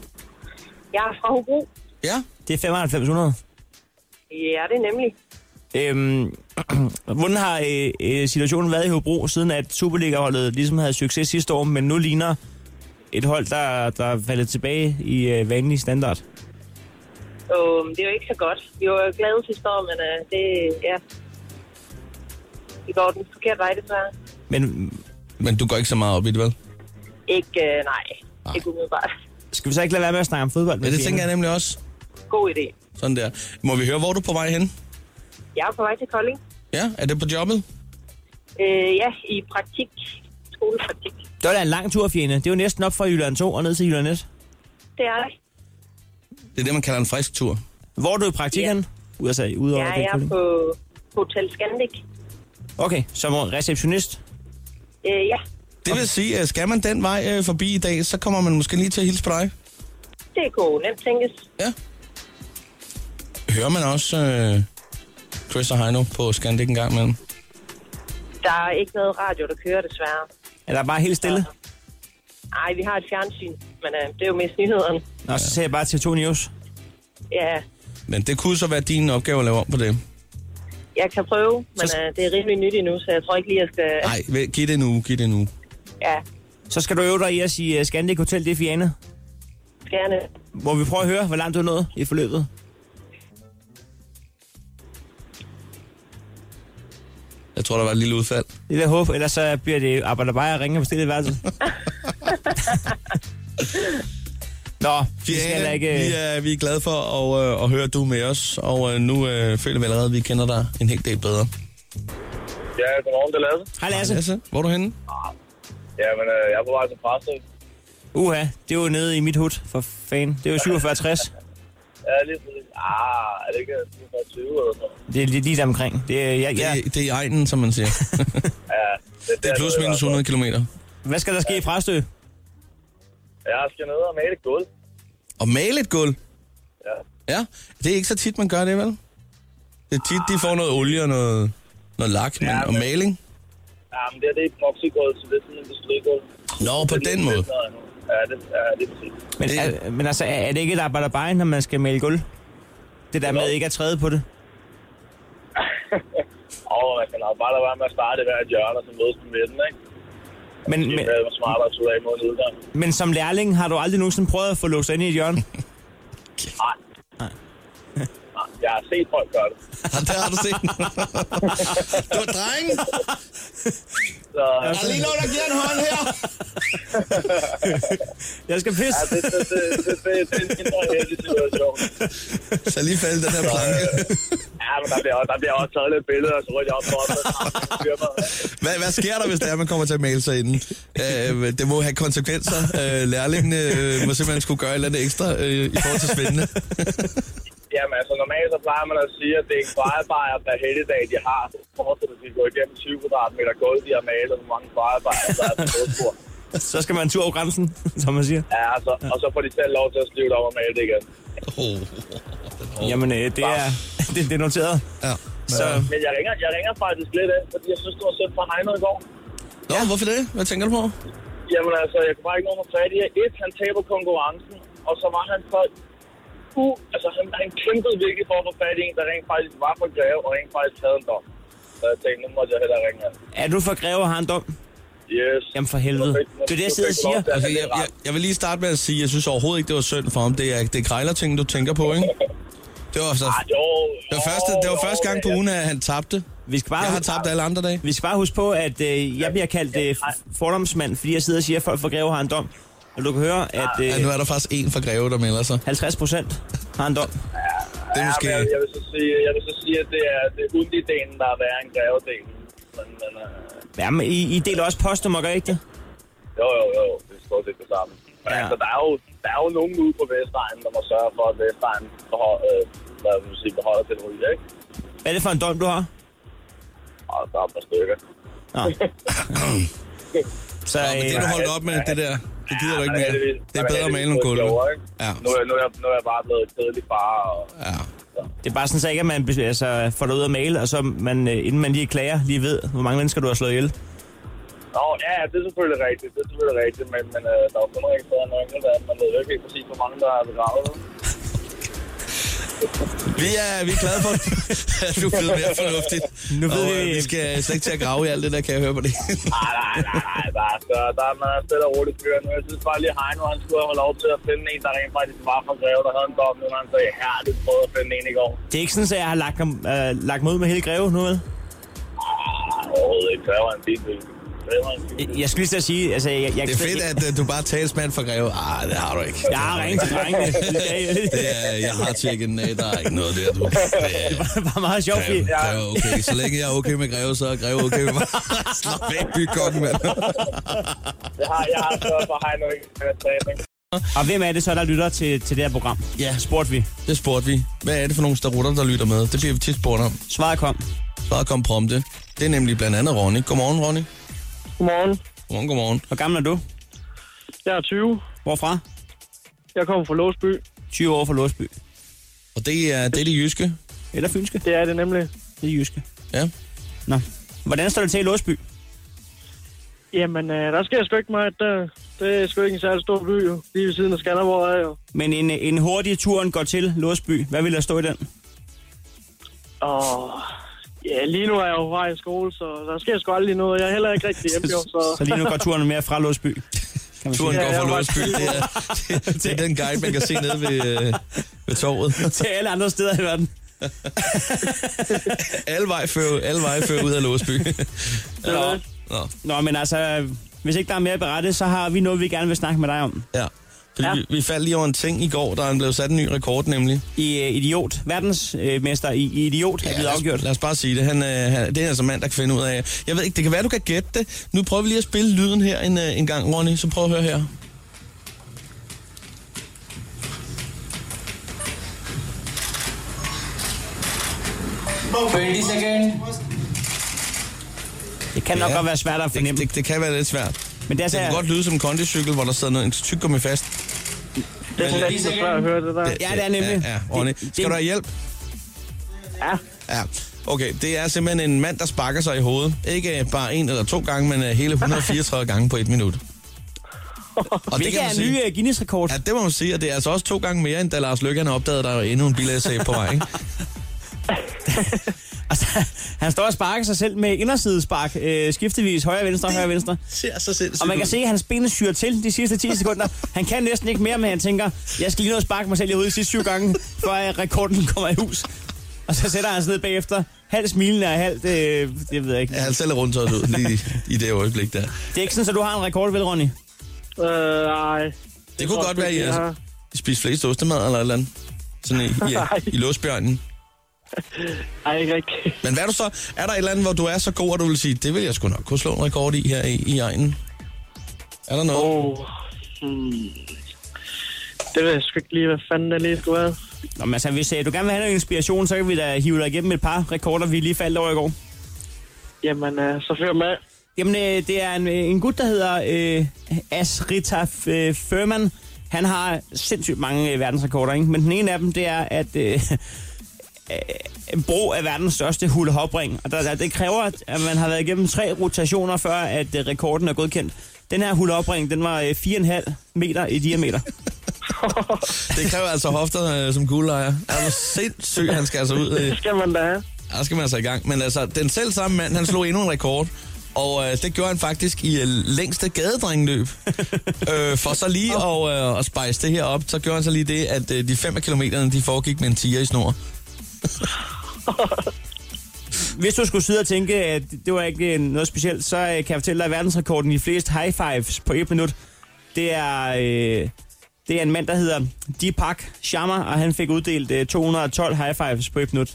Speaker 13: Jeg er fra Hobro.
Speaker 4: Ja.
Speaker 5: Det er 9500.
Speaker 13: Ja, det er nemlig.
Speaker 5: Øhm, <clears throat> hvordan har øh, øh, situationen været i Hobro, siden at Superliga-holdet ligesom havde succes sidste år, men nu ligner et hold, der, der er faldet tilbage i øh, vanlig standard?
Speaker 13: Um, det er jo ikke så godt. Vi var jo glade sidste år, men uh, det, ja. Det går den forkerte vej, desværre.
Speaker 5: Men,
Speaker 4: men du går ikke så meget op i det, vel?
Speaker 13: Ikke, uh, nej. Ikke umiddelbart.
Speaker 5: Skal vi så ikke lade være med at snakke om fodbold?
Speaker 4: Ja, det tænker jeg nemlig også.
Speaker 13: God idé.
Speaker 4: Sådan der. Må vi høre, hvor er du på vej hen?
Speaker 13: Jeg er på vej til Kolding.
Speaker 4: Ja, er det på jobbet?
Speaker 13: Øh, ja, i praktik. Skolepraktik.
Speaker 5: Det var da en lang tur, Fjene. Det er jo næsten op fra Jylland 2 og ned til Jylland 1.
Speaker 13: Det er det.
Speaker 4: Det er det, man kalder en frisk tur.
Speaker 5: Hvor er du i praktikken? Ja. USA, udover
Speaker 13: Ja,
Speaker 5: at det
Speaker 13: jeg
Speaker 5: er
Speaker 13: er
Speaker 5: Kolding.
Speaker 13: på Hotel Scandic.
Speaker 5: Okay, som receptionist.
Speaker 13: Øh, ja,
Speaker 4: Det vil sige, at skal man den vej øh, forbi i dag, så kommer man måske lige til at hilse på dig.
Speaker 13: det kunne nemt tænkes.
Speaker 4: Ja. Hører man også øh, Chris og Heino på Scandic en gang imellem?
Speaker 13: Der er ikke noget radio, der kører, desværre.
Speaker 5: Er der bare helt stille?
Speaker 13: Nej, vi har et fjernsyn, men øh, det er jo mest nyhederne.
Speaker 5: Nå, så ser jeg bare til 2 News.
Speaker 13: Ja,
Speaker 4: Men det kunne så være din opgave at lave om på det.
Speaker 13: jeg kan prøve, men øh, det er rimelig nyt endnu, så jeg tror ikke lige, jeg skal...
Speaker 4: Nej, giv det nu, giv det nu.
Speaker 13: Ja,
Speaker 5: Så skal du øve dig i at sige uh, Scandic Hotel, det er Fiane.
Speaker 13: gerne.
Speaker 5: Må vi prøve at høre, hvor langt du er nået i forløbet?
Speaker 4: Jeg tror, der var et lille udfald.
Speaker 5: Det vil jeg håbe, ellers så bliver det arbejder bare at ringe og bestille værelset.
Speaker 4: <laughs>
Speaker 5: Nå, vi skal heller
Speaker 4: Fiane,
Speaker 5: ikke...
Speaker 4: vi, er, vi er glade for at, øh, at høre, at du er med os, og øh, nu øh, føler vi allerede, at vi kender dig en hel del bedre.
Speaker 16: Ja, godmorgen, det er Lasse.
Speaker 5: Hej Lasse.
Speaker 4: Lasse, hvor er du henne?
Speaker 16: Ja, men øh, jeg er på vej til Præstø.
Speaker 5: Uha, det er jo nede i mit hud, for fan. Det er jo 4760.
Speaker 16: Ja, lige præcis. Ah, er det ikke 27 eller sådan noget?
Speaker 5: Det er lige, lige der omkring. Det er, jeg, jeg,
Speaker 4: Det, det er i egnen, som man
Speaker 5: <laughs>
Speaker 4: siger.
Speaker 16: Ja,
Speaker 4: det er plus minus
Speaker 16: altså.
Speaker 4: 100 kilometer.
Speaker 5: Hvad skal der ske i Præstø?
Speaker 16: Jeg skal ned og male et gulv.
Speaker 4: Og male et gulv?
Speaker 16: Ja.
Speaker 4: Ja, det er ikke så tit, man gør det, vel? Det er tit, de får noget olie og noget, noget lak, men, og maling.
Speaker 16: Ja, men det, her, det er epoxygulv, så det er sådan en industrigulv.
Speaker 4: Nå, på den måde.
Speaker 16: Ja, det, ja, det er præcis.
Speaker 5: Men, er, men altså, er, er det ikke et arbejder bare, når man skal male gulv? Det der med ikke at træde på det.
Speaker 16: Og man kan nok bare lade være med at starte i hver et hjørne, og så mødes på midten, ikke?
Speaker 5: Men,
Speaker 16: Det
Speaker 5: men,
Speaker 16: er jo smart at tage af mod en udgang.
Speaker 5: men som lærling har du aldrig nogensinde prøvet at få låst ind i et
Speaker 4: <laughs>
Speaker 5: hjørne?
Speaker 16: Nej. Nej. <laughs> Jeg har set folk gøre det.
Speaker 4: Der har du set den. <laughs> du er dreng.
Speaker 16: Så, øh,
Speaker 4: Er der lige lov, der giver en hånd her?
Speaker 5: Jeg skal
Speaker 16: Ja,
Speaker 5: pisse.
Speaker 16: det, det, det, det, det, det er en mindre heldig situation.
Speaker 4: Så lige faldt den her planke.
Speaker 16: øh, Ja, men der bliver, der bliver også taget lidt billeder, og så rykker jeg
Speaker 4: <laughs>
Speaker 16: op for det.
Speaker 4: Hvad, hvad sker der, hvis det er, man kommer til at male sig inden? Øh, det må have konsekvenser. Øh, lærlingen øh, må simpelthen skulle gøre et eller andet ekstra øh, i forhold til svindende.
Speaker 16: Jamen altså, normalt så plejer man at sige, at det er en fejrebejer per helligdag, de har. Forstår du, at de går igennem 20 kvadratmeter gulv, de har malet, hvor mange fejrebejer der er på fodspor.
Speaker 5: Så skal man en tur over grænsen, <laughs> som man siger.
Speaker 16: Ja, altså, og så får de selv lov til at slive det op og male det igen.
Speaker 4: Oh.
Speaker 5: Jamen, øh, <laughs> det, er, det, det er noteret.
Speaker 4: Ja. Så,
Speaker 16: Men jeg ringer, jeg ringer faktisk lidt af, fordi jeg synes, du var sødt fra Heino i går.
Speaker 4: nå, hvorfor det? Hvad tænker du på?
Speaker 16: Jamen altså, jeg kunne bare ikke nå mig fat i jer. Et, han taber konkurrencen, og så var han så... Uh, altså, han, han kæmpede virkelig for at få fat i en, der rent faktisk var på greve, og rent faktisk havde en dom. Så jeg tænkte, nu måtte jeg hellere ringe ham.
Speaker 5: Er du for greve og har en dom?
Speaker 16: Yes.
Speaker 5: Jamen for helvede. Det er det, jeg sidder og siger.
Speaker 4: Altså, jeg, jeg, jeg vil lige starte med at sige, at jeg synes overhovedet ikke, det var synd for ham. Det er, det er grejlerting, du tænker på, ikke? Det var, så,
Speaker 5: Ah,
Speaker 4: det var, første, det var første gang på ugen, at han tabte.
Speaker 5: Vi skal bare
Speaker 4: jeg har tabt alle andre dage.
Speaker 5: Vi skal bare huske på, at øh, jeg bliver kaldt øh, f- fordomsmand, fordi jeg sidder og siger, at folk fra Greve har en dom. Og du kan høre, at...
Speaker 4: Ja, nu er der faktisk en fra Greve, der melder sig.
Speaker 5: 50 procent har en dom.
Speaker 4: Det er
Speaker 16: Ja, men jeg, jeg, vil så sige, jeg vil så sige, at det er, det er hundidelen, der er værre end grevedelen. Men, men øh,
Speaker 5: Ja, men I, I deler også postnummer, gør I ikke det?
Speaker 16: jo, jo, jo, det er stort set det samme. Men
Speaker 5: Ja.
Speaker 16: altså, der er, jo, der er jo nogen ude på Vestegnen, der må sørge for, at Vestegnen behol, øh, hvad vil man sige, beholder den ryge, ikke?
Speaker 5: Hvad er det for en dom, du har?
Speaker 16: Og der er et par stykker.
Speaker 5: Nå. Så,
Speaker 4: Nå, men det, du holdt op med, det der, det gider du ikke
Speaker 16: Men
Speaker 4: mere.
Speaker 16: heldigvis-
Speaker 4: Det er
Speaker 16: men
Speaker 4: bedre at male
Speaker 16: heldigvis
Speaker 4: nogle
Speaker 16: blevet
Speaker 4: gulve.
Speaker 16: klogere, ikke?
Speaker 4: Ja.
Speaker 16: Nu, er jeg- nu, er jeg, nu er jeg bare blevet kedelig far, og
Speaker 4: ja.
Speaker 5: Det er bare sådan, så ikke, at man bes- altså, får dig ud af male, og så man, øh, inden man lige klager, lige ved, hvor mange mennesker du har slået ihjel.
Speaker 16: Nå, ja, ja, det er selvfølgelig rigtigt, det er selvfølgelig rigtigt, men, men øh, der er jo kun rigtig bedre end enkelte, at man ved jo ikke helt præcis, hvor mange der er begravet.
Speaker 4: Vi er, vi er glade for, at <laughs> du er blevet mere fornuftig.
Speaker 5: Nu ved
Speaker 4: og,
Speaker 5: vi-
Speaker 4: øh, vi skal slet ikke til at grave i alt det der, kan jeg høre på det.
Speaker 16: Nej, nej, nej, nej, der er, der, der er man er stille og roligt kørende. Jeg synes bare lige, Heino, han skulle have lov til at finde en, der rent faktisk var fra Greve, der havde en dom, men han sagde, her, du prøvede at finde en i går.
Speaker 5: Det er ikke sådan, at jeg har lagt, ham- øh, lagt mig ud med hele Greve nu, vel?
Speaker 16: Ah, Overhovedet ikke, Greve er en fin by. Greve er en fin by.
Speaker 5: Jeg skulle lige til at sige, altså... Jeg, jeg,
Speaker 4: Det er fedt, at øh, du bare er talsmand for Greve. Ah, det har du ikke.
Speaker 5: Jeg har ringet til
Speaker 4: <laughs>
Speaker 5: drengene.
Speaker 4: det er, jeg har tjekket den af. Der er ikke noget der, du. Det er,
Speaker 5: <laughs> Det var meget sjovt, fordi...
Speaker 4: Greve, Greve, okay. Så længe jeg er okay med Greve, så er Greve okay <laughs> med mig. Slap væk, bykongen, mand.
Speaker 16: Jeg har, jeg har stået for Heino i træning.
Speaker 5: Og hvem er det så, der lytter til, til det her program?
Speaker 4: Ja.
Speaker 5: Spurgte vi.
Speaker 4: Det spurgte vi. Hvad er det for nogle starutter, der lytter med? Det bliver vi tit spurgt om.
Speaker 5: Svaret kom.
Speaker 4: Svaret kom prompte. Det er nemlig blandt andet Ronny. Godmorgen, Ronny.
Speaker 15: Godmorgen.
Speaker 4: Godmorgen, godmorgen.
Speaker 5: Hvor gammel er du?
Speaker 15: Jeg er 20.
Speaker 5: Hvorfra?
Speaker 15: Jeg kommer fra Låsby.
Speaker 5: 20 år fra Låsby.
Speaker 4: Og det er det, er det jyske.
Speaker 5: Eller fynske?
Speaker 15: Det er det nemlig.
Speaker 5: Det er jyske.
Speaker 4: Ja.
Speaker 5: Nå. Hvordan står det til i Låsby?
Speaker 15: Jamen, øh, der sker sgu ikke meget. Der, det er sgu ikke en særlig stor by, jo. Lige ved siden af Skanderborg er jo.
Speaker 5: Men en, en hurtig turen går til Låsby. Hvad vil der stå i den?
Speaker 15: Og ja, lige nu er jeg jo på vej i skole, så der sker sgu aldrig noget. Jeg er heller ikke
Speaker 5: <laughs>
Speaker 15: rigtig hjemme, jo. Så,
Speaker 5: Så lige
Speaker 15: <laughs>
Speaker 5: nu går turen mere fra Låsby. Kan man
Speaker 4: Turen
Speaker 5: sige.
Speaker 4: går
Speaker 15: Ja,
Speaker 4: fra
Speaker 15: jeg var-
Speaker 4: Låsby. Det er, det, det er den guide, man kan se nede ved, øh, ved torvet.
Speaker 5: <laughs> til alle andre steder i verden.
Speaker 4: Alle veje fører, alle veje fører ud af <laughs> Låsby.
Speaker 5: Nå.
Speaker 4: Nå.
Speaker 5: Nå, men altså, hvis ikke der er mere at berette, så har vi noget, vi gerne vil snakke med dig om.
Speaker 4: Ja. Fordi
Speaker 5: Ja.
Speaker 4: ja. Vi, vi faldt lige over en ting i går, der er blevet sat en ny rekord nemlig.
Speaker 5: I øh, Idiot, verdensmester øh, i, i Idiot, er blevet
Speaker 4: lad os-
Speaker 5: afgjort.
Speaker 4: Lad os bare sige det. Han, øh, han, det er altså en mand, der kan finde ud af. Jeg ved ikke, det kan være, du kan gætte det. Nu prøver vi lige at spille lyden her en, øh, en gang, Ronny. Så prøv at høre her.
Speaker 5: Det kan nok godt være svært at fornemme.
Speaker 4: Det, det, det kan være lidt svært.
Speaker 5: Men det er altså-
Speaker 4: det kan godt lyde som en kondicykel, hvor der sidder noget en tyggegummi fast.
Speaker 15: det er fantastisk svært at høre det der.
Speaker 5: Ja, det er nemlig.
Speaker 4: Ja, ja, Ronny.
Speaker 5: Det- det-
Speaker 4: Skal du have hjælp?
Speaker 15: Ja.
Speaker 4: Ja. Okay, det er simpelthen en mand, der sparker sig i hovedet. Ikke øh, bare en eller to gange, men øh, hele 134 gange på et minut. Og
Speaker 5: Hvilket er en ny øh, Guinness-rekord.
Speaker 4: Ja, det må man sige, og det er altså også to gange mere, end da Lars Løkke han opdagede, at der er endnu en bilagsag på vej. Ikke?
Speaker 5: Altså, han står og sparker sig selv med indersidespark, øh, skiftevis højre venstre, højre venstre.
Speaker 4: Ser så sindssygt
Speaker 5: Og man kan
Speaker 4: ud.
Speaker 5: se, at hans ben syrer til de sidste 10 sekunder. Han kan næsten ikke mere, men han tænker, jeg skal lige nå at sparke mig selv i hovedet de sidste syv gange, før øh, rekorden kommer i hus. Og så sætter han sig ned bagefter, halvt smilende og halvt, øh, det ved jeg ikke.
Speaker 4: Ja, han selv er rundt ud lige i det øjeblik der.
Speaker 5: Det er ikke sådan, at du har en rekord, vel, Ronny?
Speaker 15: Øh, ej.
Speaker 4: Det kunne godt være, at I
Speaker 15: Ja.
Speaker 4: altså, spiste flest ostemad eller et eller andet. Sådan i, i, i låsbjørnen.
Speaker 15: Ej, ikke rigtigt.
Speaker 4: Men hvad er du så? Er der et eller andet, hvor du er så god, at du vil sige, det vil jeg sgu nok kunne slå en rekord i her i, i egnen? Er der noget?
Speaker 15: Oh. Hmm. Det ved jeg sgu ikke lige, hvad fanden der lige skulle være.
Speaker 5: Nå, men altså, hvis øh, du gerne vil have noget inspiration, så kan vi da hive dig igennem et par rekorder, vi lige faldt over i går.
Speaker 15: Jamen, øh, så fyr med.
Speaker 5: Jamen, øh, det er en, øh, en gut, der hedder øh, Asrita F- øh, Furman. Han har sindssygt mange øh, verdensrekorder, ikke? Men den ene af dem, det er, at øh, øh, en bro af verdens største hulehopring. Og der, der, det kræver, at at man har været igennem tre rotationer, før at øh, rekorden er godkendt. Den her hulehopring, den var øh, 4,5 meter i diameter.
Speaker 4: Det kræver altså hofterne øh, som guldlejer. Er du sindssyg, han skal altså ud. Det
Speaker 15: skal man da have.
Speaker 4: Der skal man altså i gang. Men altså, den selv samme mand, han slog endnu en rekord. Og øh, det gjorde han faktisk i øh, længste gadedrengløb. øh, for så lige at, øh, at spice det her op, så gjorde han så lige det, at øh, de 5 km de foregik med en tiger i snor.
Speaker 5: Hvis du skulle sidde og tænke, at det var ikke øh, noget specielt, så øh, kan jeg fortælle dig, at verdensrekorden i flest high fives på et minut, det er, øh, det er en mand, der hedder Deepak Sharma, og han fik uddelt øh, 212 high fives på et minut.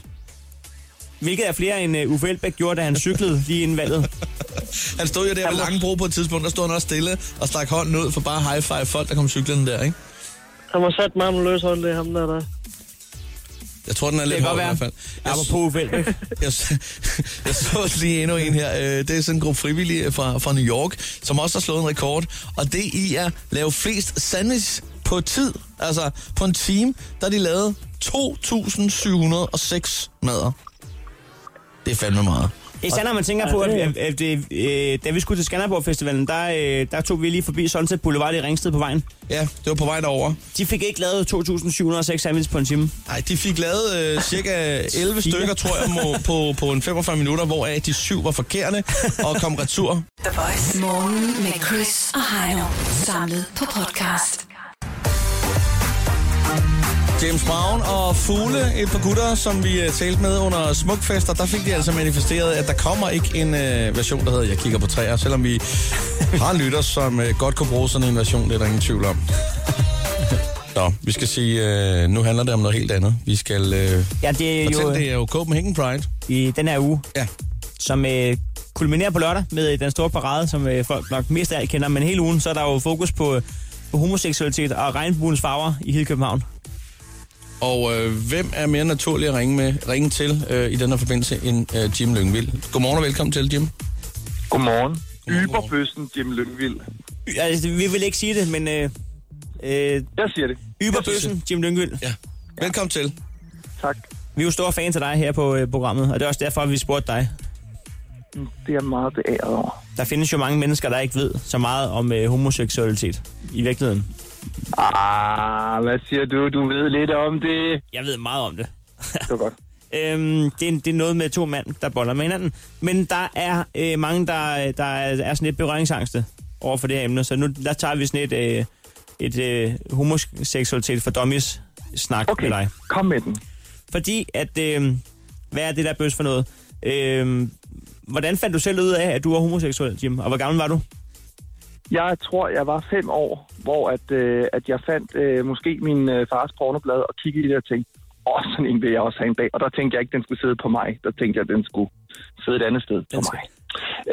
Speaker 5: Hvilket er flere end øh, Uffe Elbæk gjorde, da han cyklede lige inden valget.
Speaker 4: <laughs> Han stod jo der ved Langebro på et tidspunkt, der stod han også stille og stak hånden ud for bare high five folk, der kom cyklerne der, ikke?
Speaker 15: Han var sat meget løs hånd, det er ham der, der.
Speaker 4: Jeg tror, den er lidt
Speaker 5: kan
Speaker 4: hård i
Speaker 5: godt
Speaker 4: hvert
Speaker 5: være.
Speaker 4: fald.
Speaker 5: Apropos Uffe Elbæk.
Speaker 4: <laughs> jeg, s- jeg så lige endnu en her. Øh, Det er sådan en gruppe frivillige fra, fra New York, som også har slået en rekord. Og det i at lave flest sandwich på tid. Altså på en time, der de lavet 2.706 mader. Det er fandme meget.
Speaker 5: I Sander, man tænker på, at, at, at, at øh, da vi skulle til Skanderborg Festivalen, der, øh, der tog vi lige forbi Sunset Boulevard i Ringsted på vejen.
Speaker 4: Ja, det var på vej derover.
Speaker 5: De fik ikke lavet 2.706 sandwiches på en time.
Speaker 4: Nej, de fik lavet øh, cirka 11 stykker, tror jeg, må, på, på en 45 minutter, hvoraf de syv var forkerte og kom retur.
Speaker 3: The Voice. Morgen med Chris og Heino. Samlet på podcast.
Speaker 4: James Brown og Fugle, et par gutter, som vi øh, talte med under Smukfester, der fik de altså manifesteret, at der kommer ikke en øh, version, der hedder Jeg kigger på træer, selvom vi har en lytter, som øh, godt kunne bruge sådan en version, det er der ingen tvivl om. Nå, vi skal sige, øh, nu handler det om noget helt andet. Vi skal øh,
Speaker 5: <laughs> Ja, det er
Speaker 4: fortælle,
Speaker 5: jo...
Speaker 4: det er jo Copenhagen Pride.
Speaker 5: I den her uge.
Speaker 4: Ja.
Speaker 5: Som øh, kulminerer på lørdag med øh, den store parade, som øh, folk nok mest af alt kender. Men hele ugen, så er der jo fokus på, øh, på homoseksualitet og regnbuens farver i hele København.
Speaker 4: Og øh, hvem er mere naturlig at ringe, med, ringe til øh, i den her forbindelse end øh, Jim Lyngvild? Godmorgen og velkommen til, Jim.
Speaker 17: Godmorgen. Yberbøssen Jim Lyngvild.
Speaker 5: Altså, vi vil ikke sige det, men... Øh, øh,
Speaker 17: jeg siger det.
Speaker 5: Yberbøssen, Jim Lyngvild.
Speaker 4: Ja. Velkommen til.
Speaker 17: Tak.
Speaker 5: Vi er jo store fans af dig her på øh, programmet, og det er også derfor, vi spurgte dig.
Speaker 17: Det er meget beæret over.
Speaker 5: Der findes jo mange mennesker, der ikke ved så meget om øh, homoseksualitet i virkeligheden.
Speaker 17: Ah, hvad siger du? Du ved lidt om det.
Speaker 5: Jeg ved meget om det.
Speaker 17: det var godt.
Speaker 5: <laughs> Øhm, det, er, det er noget med to mænd, der boller med hinanden. Men der er øh, mange, der, der er, er sådan lidt berøringsangste over for det her emne, så nu der tager vi sådan et, øh, et øh, homoseksualitet for dummies snak okay. med dig.
Speaker 17: kom med den.
Speaker 5: Fordi at, øh, hvad er det der bøs for noget? Øh, hvordan fandt du selv ud af, at du var homoseksuel, Jim? Og hvor gammel var du?
Speaker 17: Jeg tror, jeg var fem år, hvor at, øh, at jeg fandt øh, måske min øh, fars pornoblad og kiggede i det og tænkte, åh, sådan en vil jeg også have en dag. Og der tænkte jeg ikke, den skulle sidde på mig. Der tænkte jeg, den skulle sidde et andet sted på mig.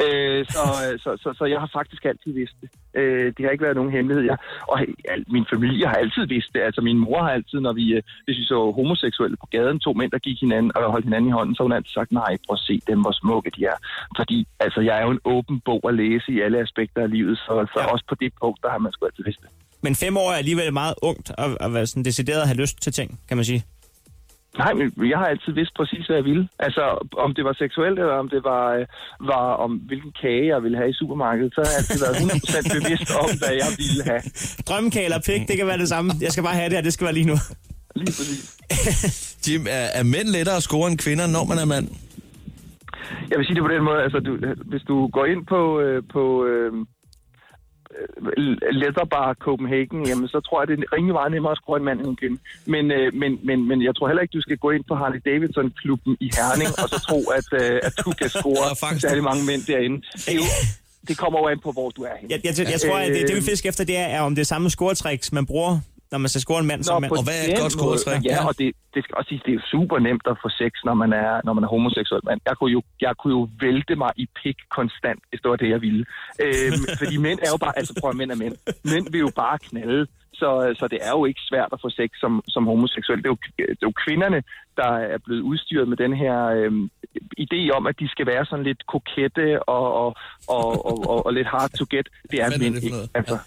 Speaker 17: Øh, så, så, så, så jeg har faktisk altid vidst det. Øh, det har ikke været nogen hemmelighed. Jeg, og al, min familie har altid vidst det. Altså min mor har altid, når vi, øh, hvis vi så homoseksuelle på gaden, to mænd, der gik hinanden og holdt hinanden i hånden, så har hun altid sagt, nej, prøv at se dem, hvor smukke de er. Fordi altså, jeg er jo en åben bog at læse i alle aspekter af livet, så, så ja. også på det punkt, der har man sgu altid vidst det.
Speaker 5: Men fem år er alligevel meget ungt at, at være sådan decideret at have lyst til ting, kan man sige.
Speaker 17: Nej, men jeg har altid vidst præcis, hvad jeg ville. Altså, om det var seksuelt, eller om det var, øh, var om hvilken kage jeg ville have i supermarkedet, så har jeg altid været 100% bevidst om, hvad jeg ville have.
Speaker 5: Drømmekage eller pik, det kan være det samme. Jeg skal bare have det her, det skal være lige nu.
Speaker 17: Lige
Speaker 5: <laughs>
Speaker 17: præcis.
Speaker 4: Jim, er, er mænd lettere at score end kvinder, når man er mand?
Speaker 17: Jeg vil sige det på den måde, altså, du, hvis du går ind på, øh, på øh, øh, Letterbar Copenhagen, jamen, så tror jeg, det er rimelig meget nemmere at skrue en mand end en kvinde. Men, øh, men, men, men jeg tror heller ikke, du skal gå ind på Harley Davidson-klubben i Herning, og så tro, at, øh, at du kan score særlig mange mænd derinde. Det, er jo, det kommer jo an på, hvor du er henne.
Speaker 5: Jeg, jeg, jeg, jeg tror, at det, det vi
Speaker 17: Øhm,
Speaker 5: fisker efter, det er, er, om det er samme scoretricks, man bruger, når man skal score en mand som mand.
Speaker 17: på den måde, Ja, og det, det skal også sige, det er jo super nemt at få sex, når man er, når man er homoseksuel mand. Jeg kunne, jo, jeg kunne jo vælte mig i pik konstant, hvis det var det, jeg ville.
Speaker 4: <laughs>
Speaker 17: Øhm, fordi mænd er jo bare, altså prøv at mænd er mænd. Mænd vil jo bare knalde, så, så det er jo ikke svært at få sex som, som homoseksuel. Det er, jo, det er jo kvinderne, der er blevet udstyret med den her øhm, idé om, at de skal være sådan lidt kokette og, og, og, og, og, og lidt hard to get. Det er
Speaker 4: Hvad fanden
Speaker 17: mænd
Speaker 4: er det for
Speaker 17: ikke.
Speaker 4: noget?
Speaker 17: Altså,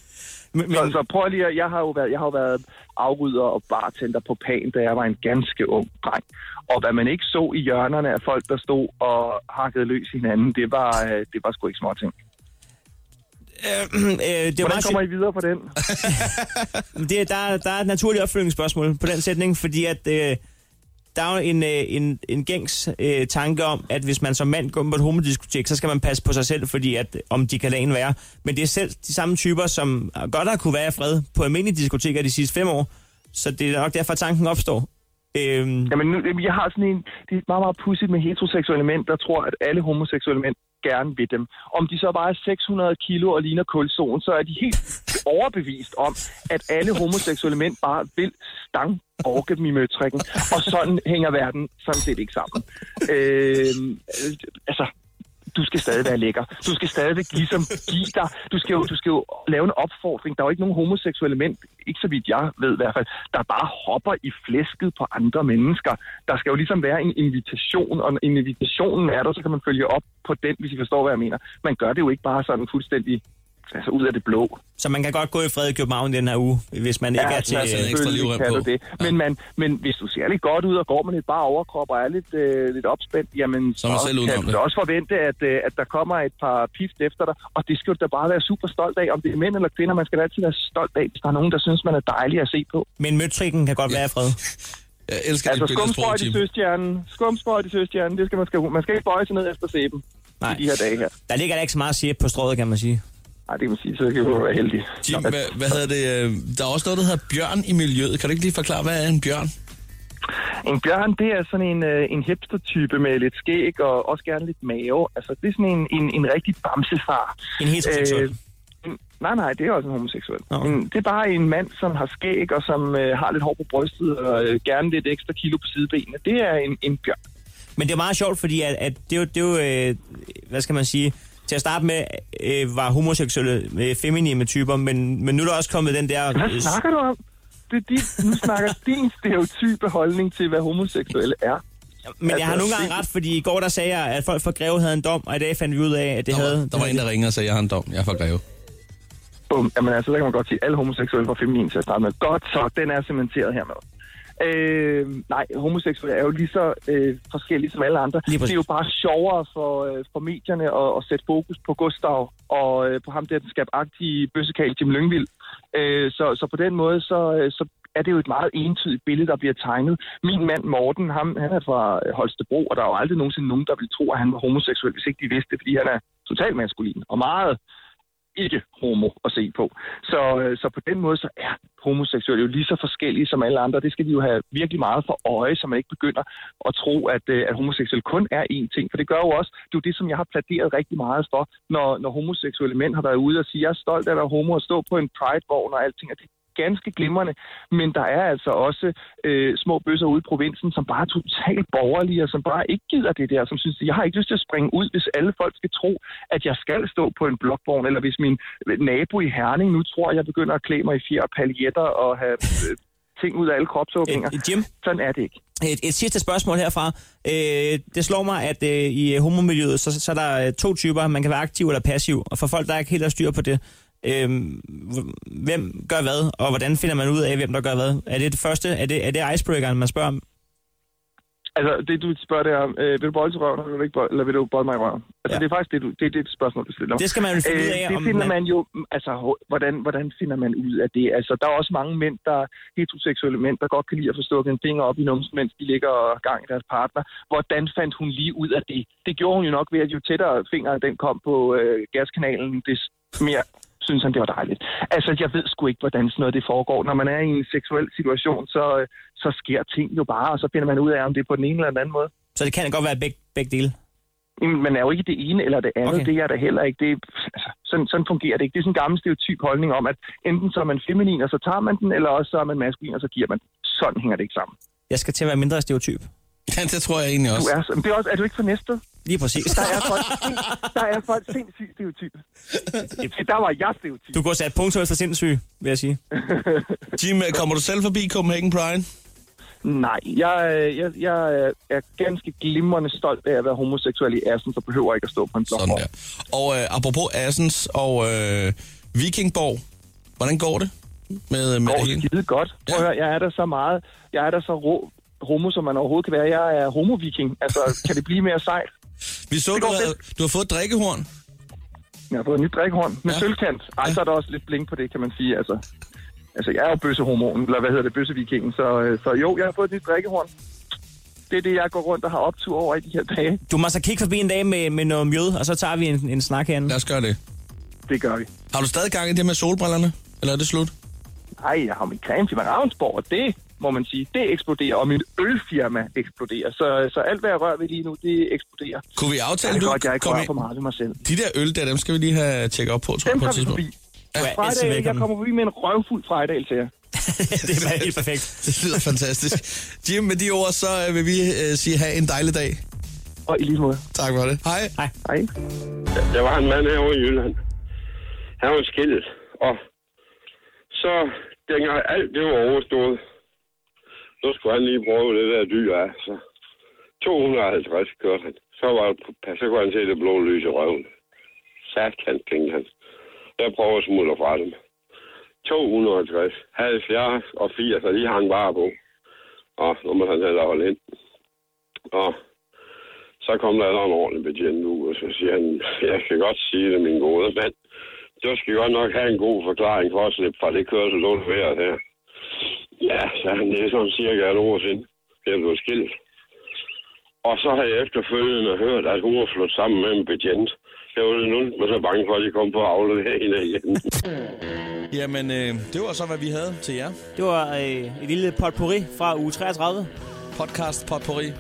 Speaker 5: Men,
Speaker 17: men... Så, så prøv lige at, jeg har jo været, jeg har jo været afrydder og bartender på Pan, da jeg var en ganske ung dreng. Og hvad man ikke så i hjørnerne af folk, der stod og hakkede løs i hinanden, det var, øh, det var sgu ikke småting.
Speaker 5: Øh, øh, det
Speaker 17: Hvordan kommer I videre
Speaker 5: <laughs>
Speaker 17: på den?
Speaker 5: det, der, der er et naturligt opfølgningsspørgsmål på den sætning, fordi at øh, der er jo en, øh, en, en gængs øh, tanke om, at hvis man som mand går på et homodiskotek, så skal man passe på sig selv, fordi at, om de kan lade en være. Men det er selv de samme typer, som godt har kunne være i fred på almindelige diskoteker de sidste fem år, så det er nok derfor, tanken opstår.
Speaker 17: Øhm... Jamen, nu, jeg har sådan en... Det er meget, meget pudsigt med heteroseksuelle mænd, der tror, at alle homoseksuelle mænd gerne vil dem. Om de så vejer 600 kilo og ligner kulsolen, så er de helt overbevist om, at alle homoseksuelle mænd bare vil stang orke dem i møtrikken. Og sådan hænger verden sådan set ikke sammen. Øhm, altså, du skal stadig være lækker. Du skal stadigvæk ligesom give dig. Du skal, jo, du skal jo lave en opfordring. Der er jo ikke nogen homoseksuelle mænd, ikke så vidt jeg ved i hvert fald, der bare hopper i flæsket på andre mennesker. Der skal jo ligesom være en invitation, og når invitationen er der, så kan man følge op på den, hvis I forstår, hvad jeg mener. Man gør det jo ikke bare sådan fuldstændig altså ud af det blå.
Speaker 5: Så man kan godt gå i fred i København den her uge, hvis man ja, ikke er til... øh,
Speaker 17: Ja, altså, selvfølgelig kan på. du det. Men, ja. man, men hvis du ser lidt godt ud og går med lidt bare overkrop og er lidt, øh, lidt opspændt, jamen så, så selv kan du også forvente, at, øh, at der kommer et par pift efter dig, og det skal du da bare være super stolt af, om det er mænd eller kvinder, man skal da altid være stolt af, hvis der er nogen, der synes, man er dejlig at se på.
Speaker 5: Men møtrikken kan godt ja. være i fred.
Speaker 4: Jeg elsker
Speaker 17: altså, skumsprøjt i søstjernen. Skumsprøjt i søstjernen, det skal man, skal, man skal ikke bøje sig ned efter sæben. Nej. I de her dage her.
Speaker 5: Der ligger der ikke så meget sæbe på strået, kan man sige.
Speaker 17: Nej, det kan man sige, så kan man være altså, heldig.
Speaker 4: Jim, hvad, hvad hedder det? øh, Der er også noget, der hedder bjørn i miljøet. Kan du ikke lige forklare, hvad er en bjørn?
Speaker 17: En bjørn, det er sådan en, øh, en hipster-type med lidt skæg og også gerne lidt mave. Altså, det er sådan en, en, en rigtig bamsefar.
Speaker 5: En heteroseksuel? Øh,
Speaker 17: Nej, nej, det er også en homoseksuel. Okay. Men det er bare en mand, som har skæg og som øh, har lidt hår på brystet og øh, gerne lidt ekstra kilo på sidebenene. Det er en, en bjørn.
Speaker 5: Men det er meget sjovt, fordi at, at det er jo, det er jo øh, hvad skal man sige, til at starte med øh, var homoseksuelle øh, feminine typer, men, men nu er der også kommet den der...
Speaker 17: Hvad snakker du om? Det er din, nu
Speaker 5: <laughs>
Speaker 17: snakker din stereotype holdning til, hvad homoseksuelle er.
Speaker 5: Men altså, jeg har nogle gange ret, fordi i går der sagde jeg, at folk fra Greve havde en dom, og i dag fandt vi ud af, at det
Speaker 4: der
Speaker 5: havde...
Speaker 4: Var, der var en, der ringede og sagde, at jeg har en dom, jeg er fra Greve.
Speaker 17: Bum. Jamen altså, der kan man godt sige, at alle homoseksuelle var feminine til at starte med. Godt så, den er cementeret hermed. Øh, nej, homoseksuelle er jo lige så øh, forskellige som alle andre. Det er jo bare sjovere for, øh, for medierne at, at sætte fokus på Gustav og øh, på ham der, den skabagtige bøssekal Jim Lyngvild. Øh, så, så på den måde, så, øh, så er det jo et meget entydigt billede, der bliver tegnet. Min mand Morten, ham, han er fra Holstebro, og der er jo aldrig nogensinde nogen, der ville tro, at han var homoseksuel, hvis ikke de vidste det, fordi han er totalt maskulin og meget ikke homo at se på. Så, øh, så på den måde, så er homoseksuelle jo lige så forskellige som alle andre. Det skal de jo have virkelig meget for øje, så man ikke begynder at tro, at, øh, at homoseksuel kun er én ting. For det gør jo også, det er jo det, som jeg har pladeret rigtig meget for, når, når homoseksuelle mænd har været ude og sige, jeg er stolt af at være homo og stå på en pride-vogn og alting. Og det ganske glimrende, men der er altså også øh, små bøsser ude i provinsen, som bare er totalt borgerlige, og som bare ikke gider det der, som synes, jeg har ikke lyst til at springe ud, hvis alle folk skal tro, at jeg skal stå på en blokvogn, eller hvis min øh, nabo i Herning nu tror, at jeg begynder at klæde mig i fjer og paljetter og have øh, ting ud af alle kropsåbninger.
Speaker 5: Et, et Jim?
Speaker 17: Sådan er det ikke.
Speaker 5: Et, et sidste spørgsmål herfra. Øh, det slår mig, at øh, i homomiljøet, så, så er der øh, to typer. Man kan være aktiv eller passiv. Og for folk, der ikke helt har styr på det, Øhm, hvem gør hvad, og hvordan finder man ud af, hvem der gør hvad? Er det det første? Er det, er det icebreakeren, man spørger om?
Speaker 17: Altså, det du spørger, det er, øh, vil du bolde til røven, eller vil du, ikke bolde, eller vil du bolde mig i røven? Altså, ja. det er faktisk det, du, det, det er et spørgsmål, du stiller.
Speaker 5: Det skal man jo finde ud af,
Speaker 17: øh, Det finder man... man jo, altså, hvordan, hvordan finder man ud af det? Altså, der er også mange mænd, der heteroseksuelle mænd, der godt kan lide at få stukket en finger op i numsen, mens de ligger og gang i deres partner. Hvordan fandt hun lige ud af det? Det gjorde hun jo nok ved, at jo tættere fingeren den kom på øh, gaskanalen, des mere synes han, det var dejligt. Altså, jeg ved sgu ikke, hvordan sådan noget det foregår. Når man er i en seksuel situation, så, øh, så sker ting jo bare, og så finder man ud af, om det er på den ene eller den anden måde.
Speaker 5: Så det kan godt være begge, begge dele?
Speaker 17: Jamen, man er jo ikke det ene eller det andet. Okay. Det er der heller ikke. Det, er, altså, sådan, sådan fungerer det ikke. Det er sådan en gammel stereotyp holdning om, at enten så er man feminin, og så tager man den, eller også så er man maskulin, og så giver man den. Sådan hænger det ikke sammen.
Speaker 5: Jeg skal til at være mindre stereotyp.
Speaker 4: Ja, det tror jeg egentlig også.
Speaker 17: Du er, det er, også, er du ikke for næste?
Speaker 5: Lige præcis.
Speaker 17: Der er folk, der er <laughs> folk sindssygt stereotype. Der var jeg stereotyp.
Speaker 5: Du går sat punkt for sindssyg, vil jeg sige.
Speaker 4: <laughs> Jim, øh, kommer du selv forbi Copenhagen Pride?
Speaker 17: Nej, jeg, øh, jeg, jeg er ganske glimrende stolt af at være homoseksuel i Assens, og behøver ikke at stå på en blok.
Speaker 4: Sådan der. Og øh, apropos Assens og øh, Vikingborg, Hvordan går det med, med
Speaker 17: går det skide godt. Prøv at høre, jeg er der så meget, jeg er der så rå homo, som man overhovedet kan være. Jeg er homoviking. Altså, kan det blive mere sejt?
Speaker 4: Vi så,
Speaker 17: Det
Speaker 4: du
Speaker 17: går
Speaker 4: havde, du har fået et drikkehorn.
Speaker 17: Jeg har fået en ny drikkehånd med ja. sølvkant. Ej, så er der også lidt blink på det, kan man sige. Altså, altså jeg er jo bøssehormon, eller hvad hedder det, bøssevikingen. Så, øh, så jo, jeg har fået et nyt drikkehorn. Det er det, jeg går rundt og har optur over i de her dage.
Speaker 5: Du må så kigge forbi en dag med, med noget mjød, og så tager vi en, en snak herinde. Lad
Speaker 4: os gøre det.
Speaker 17: Det gør vi.
Speaker 4: Har du stadig gang i det med solbrillerne? Eller er det slut?
Speaker 17: Nej, jeg har min creme til Ravnsborg, og det må man sige, det eksploderer, og min ølfirma eksploderer. Så, så alt, hvad jeg rører ved lige nu, det eksploderer.
Speaker 4: Kunne vi aftale,
Speaker 17: det er
Speaker 4: du
Speaker 17: godt, jeg ikke
Speaker 4: kom
Speaker 17: rører
Speaker 4: ind-
Speaker 17: for meget ved mig selv.
Speaker 4: De der øl der, dem skal vi lige have tjekket op på, tror jeg,
Speaker 17: Dem
Speaker 4: på et
Speaker 17: tager vi <laughs>
Speaker 4: tidspunkt.
Speaker 17: forbi. Friday, jeg kommer forbi med en røvfuld fredag til jer.
Speaker 5: det var helt perfekt.
Speaker 4: det lyder fantastisk. Jim, med de ord, så øh, vil vi øh, sige, have en dejlig dag.
Speaker 17: Og i lige måde.
Speaker 4: Tak for det. Hej.
Speaker 5: Hej.
Speaker 17: Hej.
Speaker 18: Der var en mand herovre i Jylland. Han var skilt, og så dengang alt det var overstået, så skulle han lige prøve det der dyr af. Så 250 kørte han. Så var det, på- så kunne han se det blå lys i røven. Sat han, tænkte han. Jeg prøver at smutte fra dem. 250, 70 og 80, og de hang bare på. Og nu må han hellere holde ind. Og så kom der en ordentlig betjent ud, og så siger han, jeg kan godt sige det, min gode mand. Du skal godt nok have en god forklaring for at slippe fra det kørsel, du leverer her. Ja, så han, det er sådan cirka et år siden, jeg blev skilt. Og så har jeg efterfølgende hørt, at hun var flået sammen med en betjent. Jeg var nu var så bange for, at de kom på at aflevere hende igen.
Speaker 4: Jamen, øh, det var så, hvad vi havde til jer.
Speaker 5: Det var øh, et lille potpourri fra uge 33.
Speaker 4: Podcast potpourri.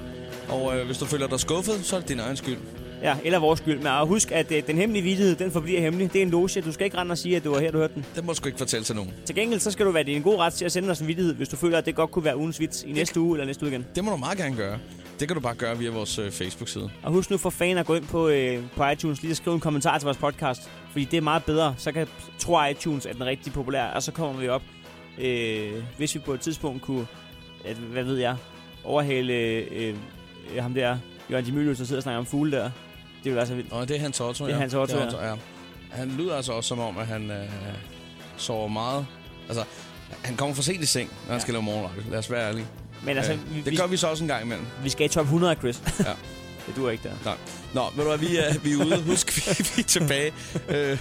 Speaker 4: Og øh, hvis du føler dig skuffet, så er det din egen skyld.
Speaker 5: Ja, eller vores skyld. Men og husk, at øh, den hemmelige vidighed, den forbliver hemmelig. Det er en loge. Du skal ikke rende og sige, at det var her, du hørte den.
Speaker 4: Det må du ikke fortælle til nogen.
Speaker 5: Til gengæld, så skal du være din gode ret til at sende os en vidighed, hvis du føler, at det godt kunne være ugens vits i næste uge eller næste uge igen.
Speaker 4: Det må du meget gerne gøre. Det kan du bare gøre via vores øh, Facebook-side.
Speaker 5: Og husk nu for fan at gå ind på, øh, på iTunes lige at skrive en kommentar til vores podcast, fordi det er meget bedre. Så kan tror iTunes, at den er rigtig populær, og så kommer vi op. Øh, hvis vi på et tidspunkt kunne, at, hvad ved jeg, overhale øh, øh, ham der, Jørgen de Mølløs, der sidder og snakker om fugle der. Det ville være så vildt.
Speaker 4: Og det er Hans Otto,
Speaker 5: Det er
Speaker 4: ja.
Speaker 5: Hans Otto,
Speaker 4: Det er
Speaker 5: ja.
Speaker 4: ja. Han lyder altså også som om, at han øh, sover meget. Altså, han kommer for sent i seng, når han
Speaker 5: Ja.
Speaker 4: skal lave morgenradio. Lad os være ærlige.
Speaker 5: Men altså, vi-
Speaker 4: øh, det gør vi så også en gang imellem.
Speaker 5: Vi skal i top 100, Chris.
Speaker 4: Ja.
Speaker 5: <laughs> det duer ikke der.
Speaker 4: Nej. Nå, ved du hvad, vi er, vi er ude. Husk, vi, <laughs> vi er tilbage. Øh,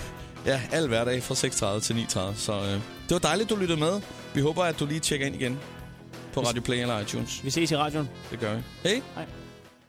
Speaker 4: ja, al hverdag fra 6.30 til 9.30. Så øh, det var dejligt, du lyttede med. Vi håber, at du lige tjekker ind igen på Radio Play eller iTunes.
Speaker 5: Vi ses i radioen.
Speaker 4: Det gør vi. Hej.
Speaker 5: Hej.